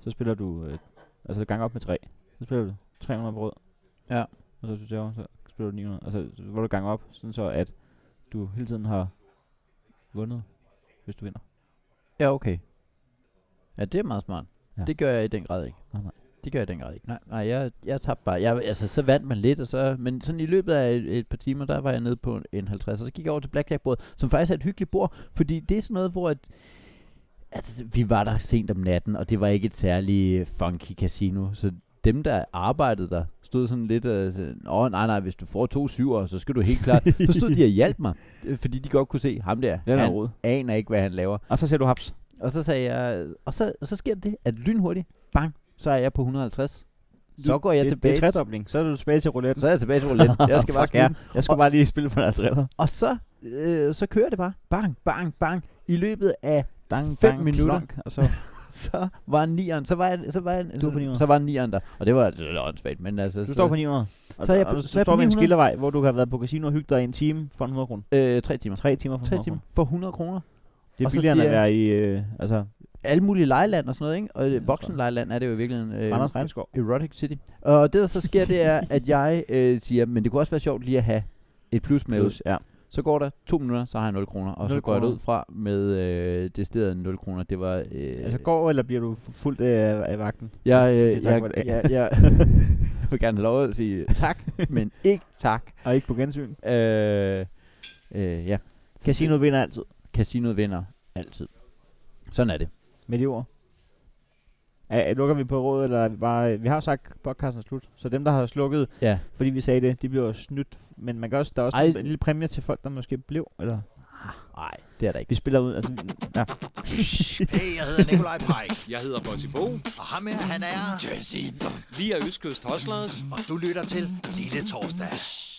Speaker 3: Så spiller du... Øh, altså, gang op med 3. Så spiller du 300 på rød.
Speaker 2: Ja.
Speaker 3: Og så du tager, så spiller du 900. Og så hvor du ganger op, sådan så at du hele tiden har vundet, hvis du vinder.
Speaker 2: Ja, okay. Ja, det er meget smart.
Speaker 3: Ja.
Speaker 2: Ja. Det gør jeg i den grad ikke.
Speaker 3: Nej, nej.
Speaker 2: Det gør jeg i den grad ikke. Nej, nej jeg, jeg tabte bare. Jeg, altså, så vandt man lidt, og så, men sådan i løbet af et, et par timer, der var jeg nede på en 50, og så gik jeg over til Blackjack-bordet, som faktisk er et hyggeligt bord, fordi det er sådan noget, hvor at, altså, vi var der sent om natten, og det var ikke et særligt øh, funky casino, så dem, der arbejdede der, stod sådan lidt og sagde, Nå, nej, nej, hvis du får to syver, så skal du helt klart... så stod de og hjalp mig, øh, fordi de godt kunne se ham der.
Speaker 3: Det er noget
Speaker 2: han
Speaker 3: rod.
Speaker 2: aner ikke, hvad han laver.
Speaker 3: Og så ser du haps.
Speaker 2: Og så sagde jeg, og så, og så sker det, at lynhurtigt, bang, så er jeg på 150. Så går jeg
Speaker 3: det,
Speaker 2: tilbage.
Speaker 3: Det er tredobling. Så er du tilbage til rouletten.
Speaker 2: så er jeg tilbage til roulette. Jeg skal bare
Speaker 3: Fuck ja.
Speaker 2: skyde.
Speaker 3: Jeg skal bare lige spille for deres driller.
Speaker 2: Og så, øh, så kører det bare. Bang, bang, bang. I løbet af,
Speaker 3: Dang,
Speaker 2: Fem
Speaker 3: dang,
Speaker 2: minutter.
Speaker 3: Klonk, og så
Speaker 2: så var en nieren, så var jeg, så var jeg,
Speaker 3: Du er
Speaker 2: så,
Speaker 3: på nieren.
Speaker 2: så var en nieren der. Og det var, det var åndssvagt, men altså,
Speaker 3: du
Speaker 2: så,
Speaker 3: står på 900. Og,
Speaker 2: Så er jeg
Speaker 3: og,
Speaker 2: på-
Speaker 3: og,
Speaker 2: så er
Speaker 3: så
Speaker 2: jeg på
Speaker 3: står vi i en
Speaker 2: 900.
Speaker 3: skildervej, hvor du har været på casino og hygget dig i en time for en 100 kroner.
Speaker 2: Øh, tre timer.
Speaker 3: Tre timer for
Speaker 2: 3
Speaker 3: 100
Speaker 2: timer.
Speaker 3: kroner.
Speaker 2: For 100 kroner.
Speaker 3: Det er
Speaker 2: Og så
Speaker 3: billigere end at
Speaker 2: siger
Speaker 3: være i øh, altså,
Speaker 2: Alle mulige lejland og sådan noget, ikke? Og
Speaker 3: Ja,
Speaker 2: øh, voksenlejland er det jo i virkeligheden. Øh,
Speaker 3: Anders Regnskov.
Speaker 2: Erotic City. Og det, der så sker, det er, at jeg øh, siger, men det kunne også være sjovt lige at have et plus med ud.
Speaker 3: Plus, ja.
Speaker 2: Så går der to minutter, så har jeg 0 kroner. Og
Speaker 3: 0
Speaker 2: så går jeg
Speaker 3: kroner.
Speaker 2: ud fra med øh, det stedet 0 kroner. Det var... Øh,
Speaker 3: Altså går, eller bliver du fuldt af, af vagten?
Speaker 2: jeg,
Speaker 3: Sige
Speaker 2: øh,
Speaker 3: tak
Speaker 2: jeg,
Speaker 3: for i dag.
Speaker 2: jeg, jeg, jeg vil gerne have lov at sige øh, tak, men ikke tak.
Speaker 3: Og ikke på gensyn?
Speaker 2: Øh, øh, ja,
Speaker 3: Casinoet vinder altid,
Speaker 2: casinoet vinder altid. Sådan er det.
Speaker 3: med de ord. Er, er- lukker vi på rådet, eller er vi bare... øh, Vi har jo sagt, podcasten er slut. Så dem, der har slukket,
Speaker 2: Ja.
Speaker 3: fordi vi sagde det, de bliver jo snydt. Men man kan også, der er også
Speaker 2: Ej.
Speaker 3: en, en lille præmie til folk, der måske blev, eller...
Speaker 2: Nej, det er der ikke.
Speaker 3: Vi spiller ud, altså... Ja.
Speaker 5: Hey, jeg hedder Nikolaj Pajk.
Speaker 6: Jeg hedder Bossy Bo.
Speaker 5: Og ham her, han er... Jesse.
Speaker 6: Vi er Østkyst Hoslers.
Speaker 5: Og du lytter til Lille Torsdag.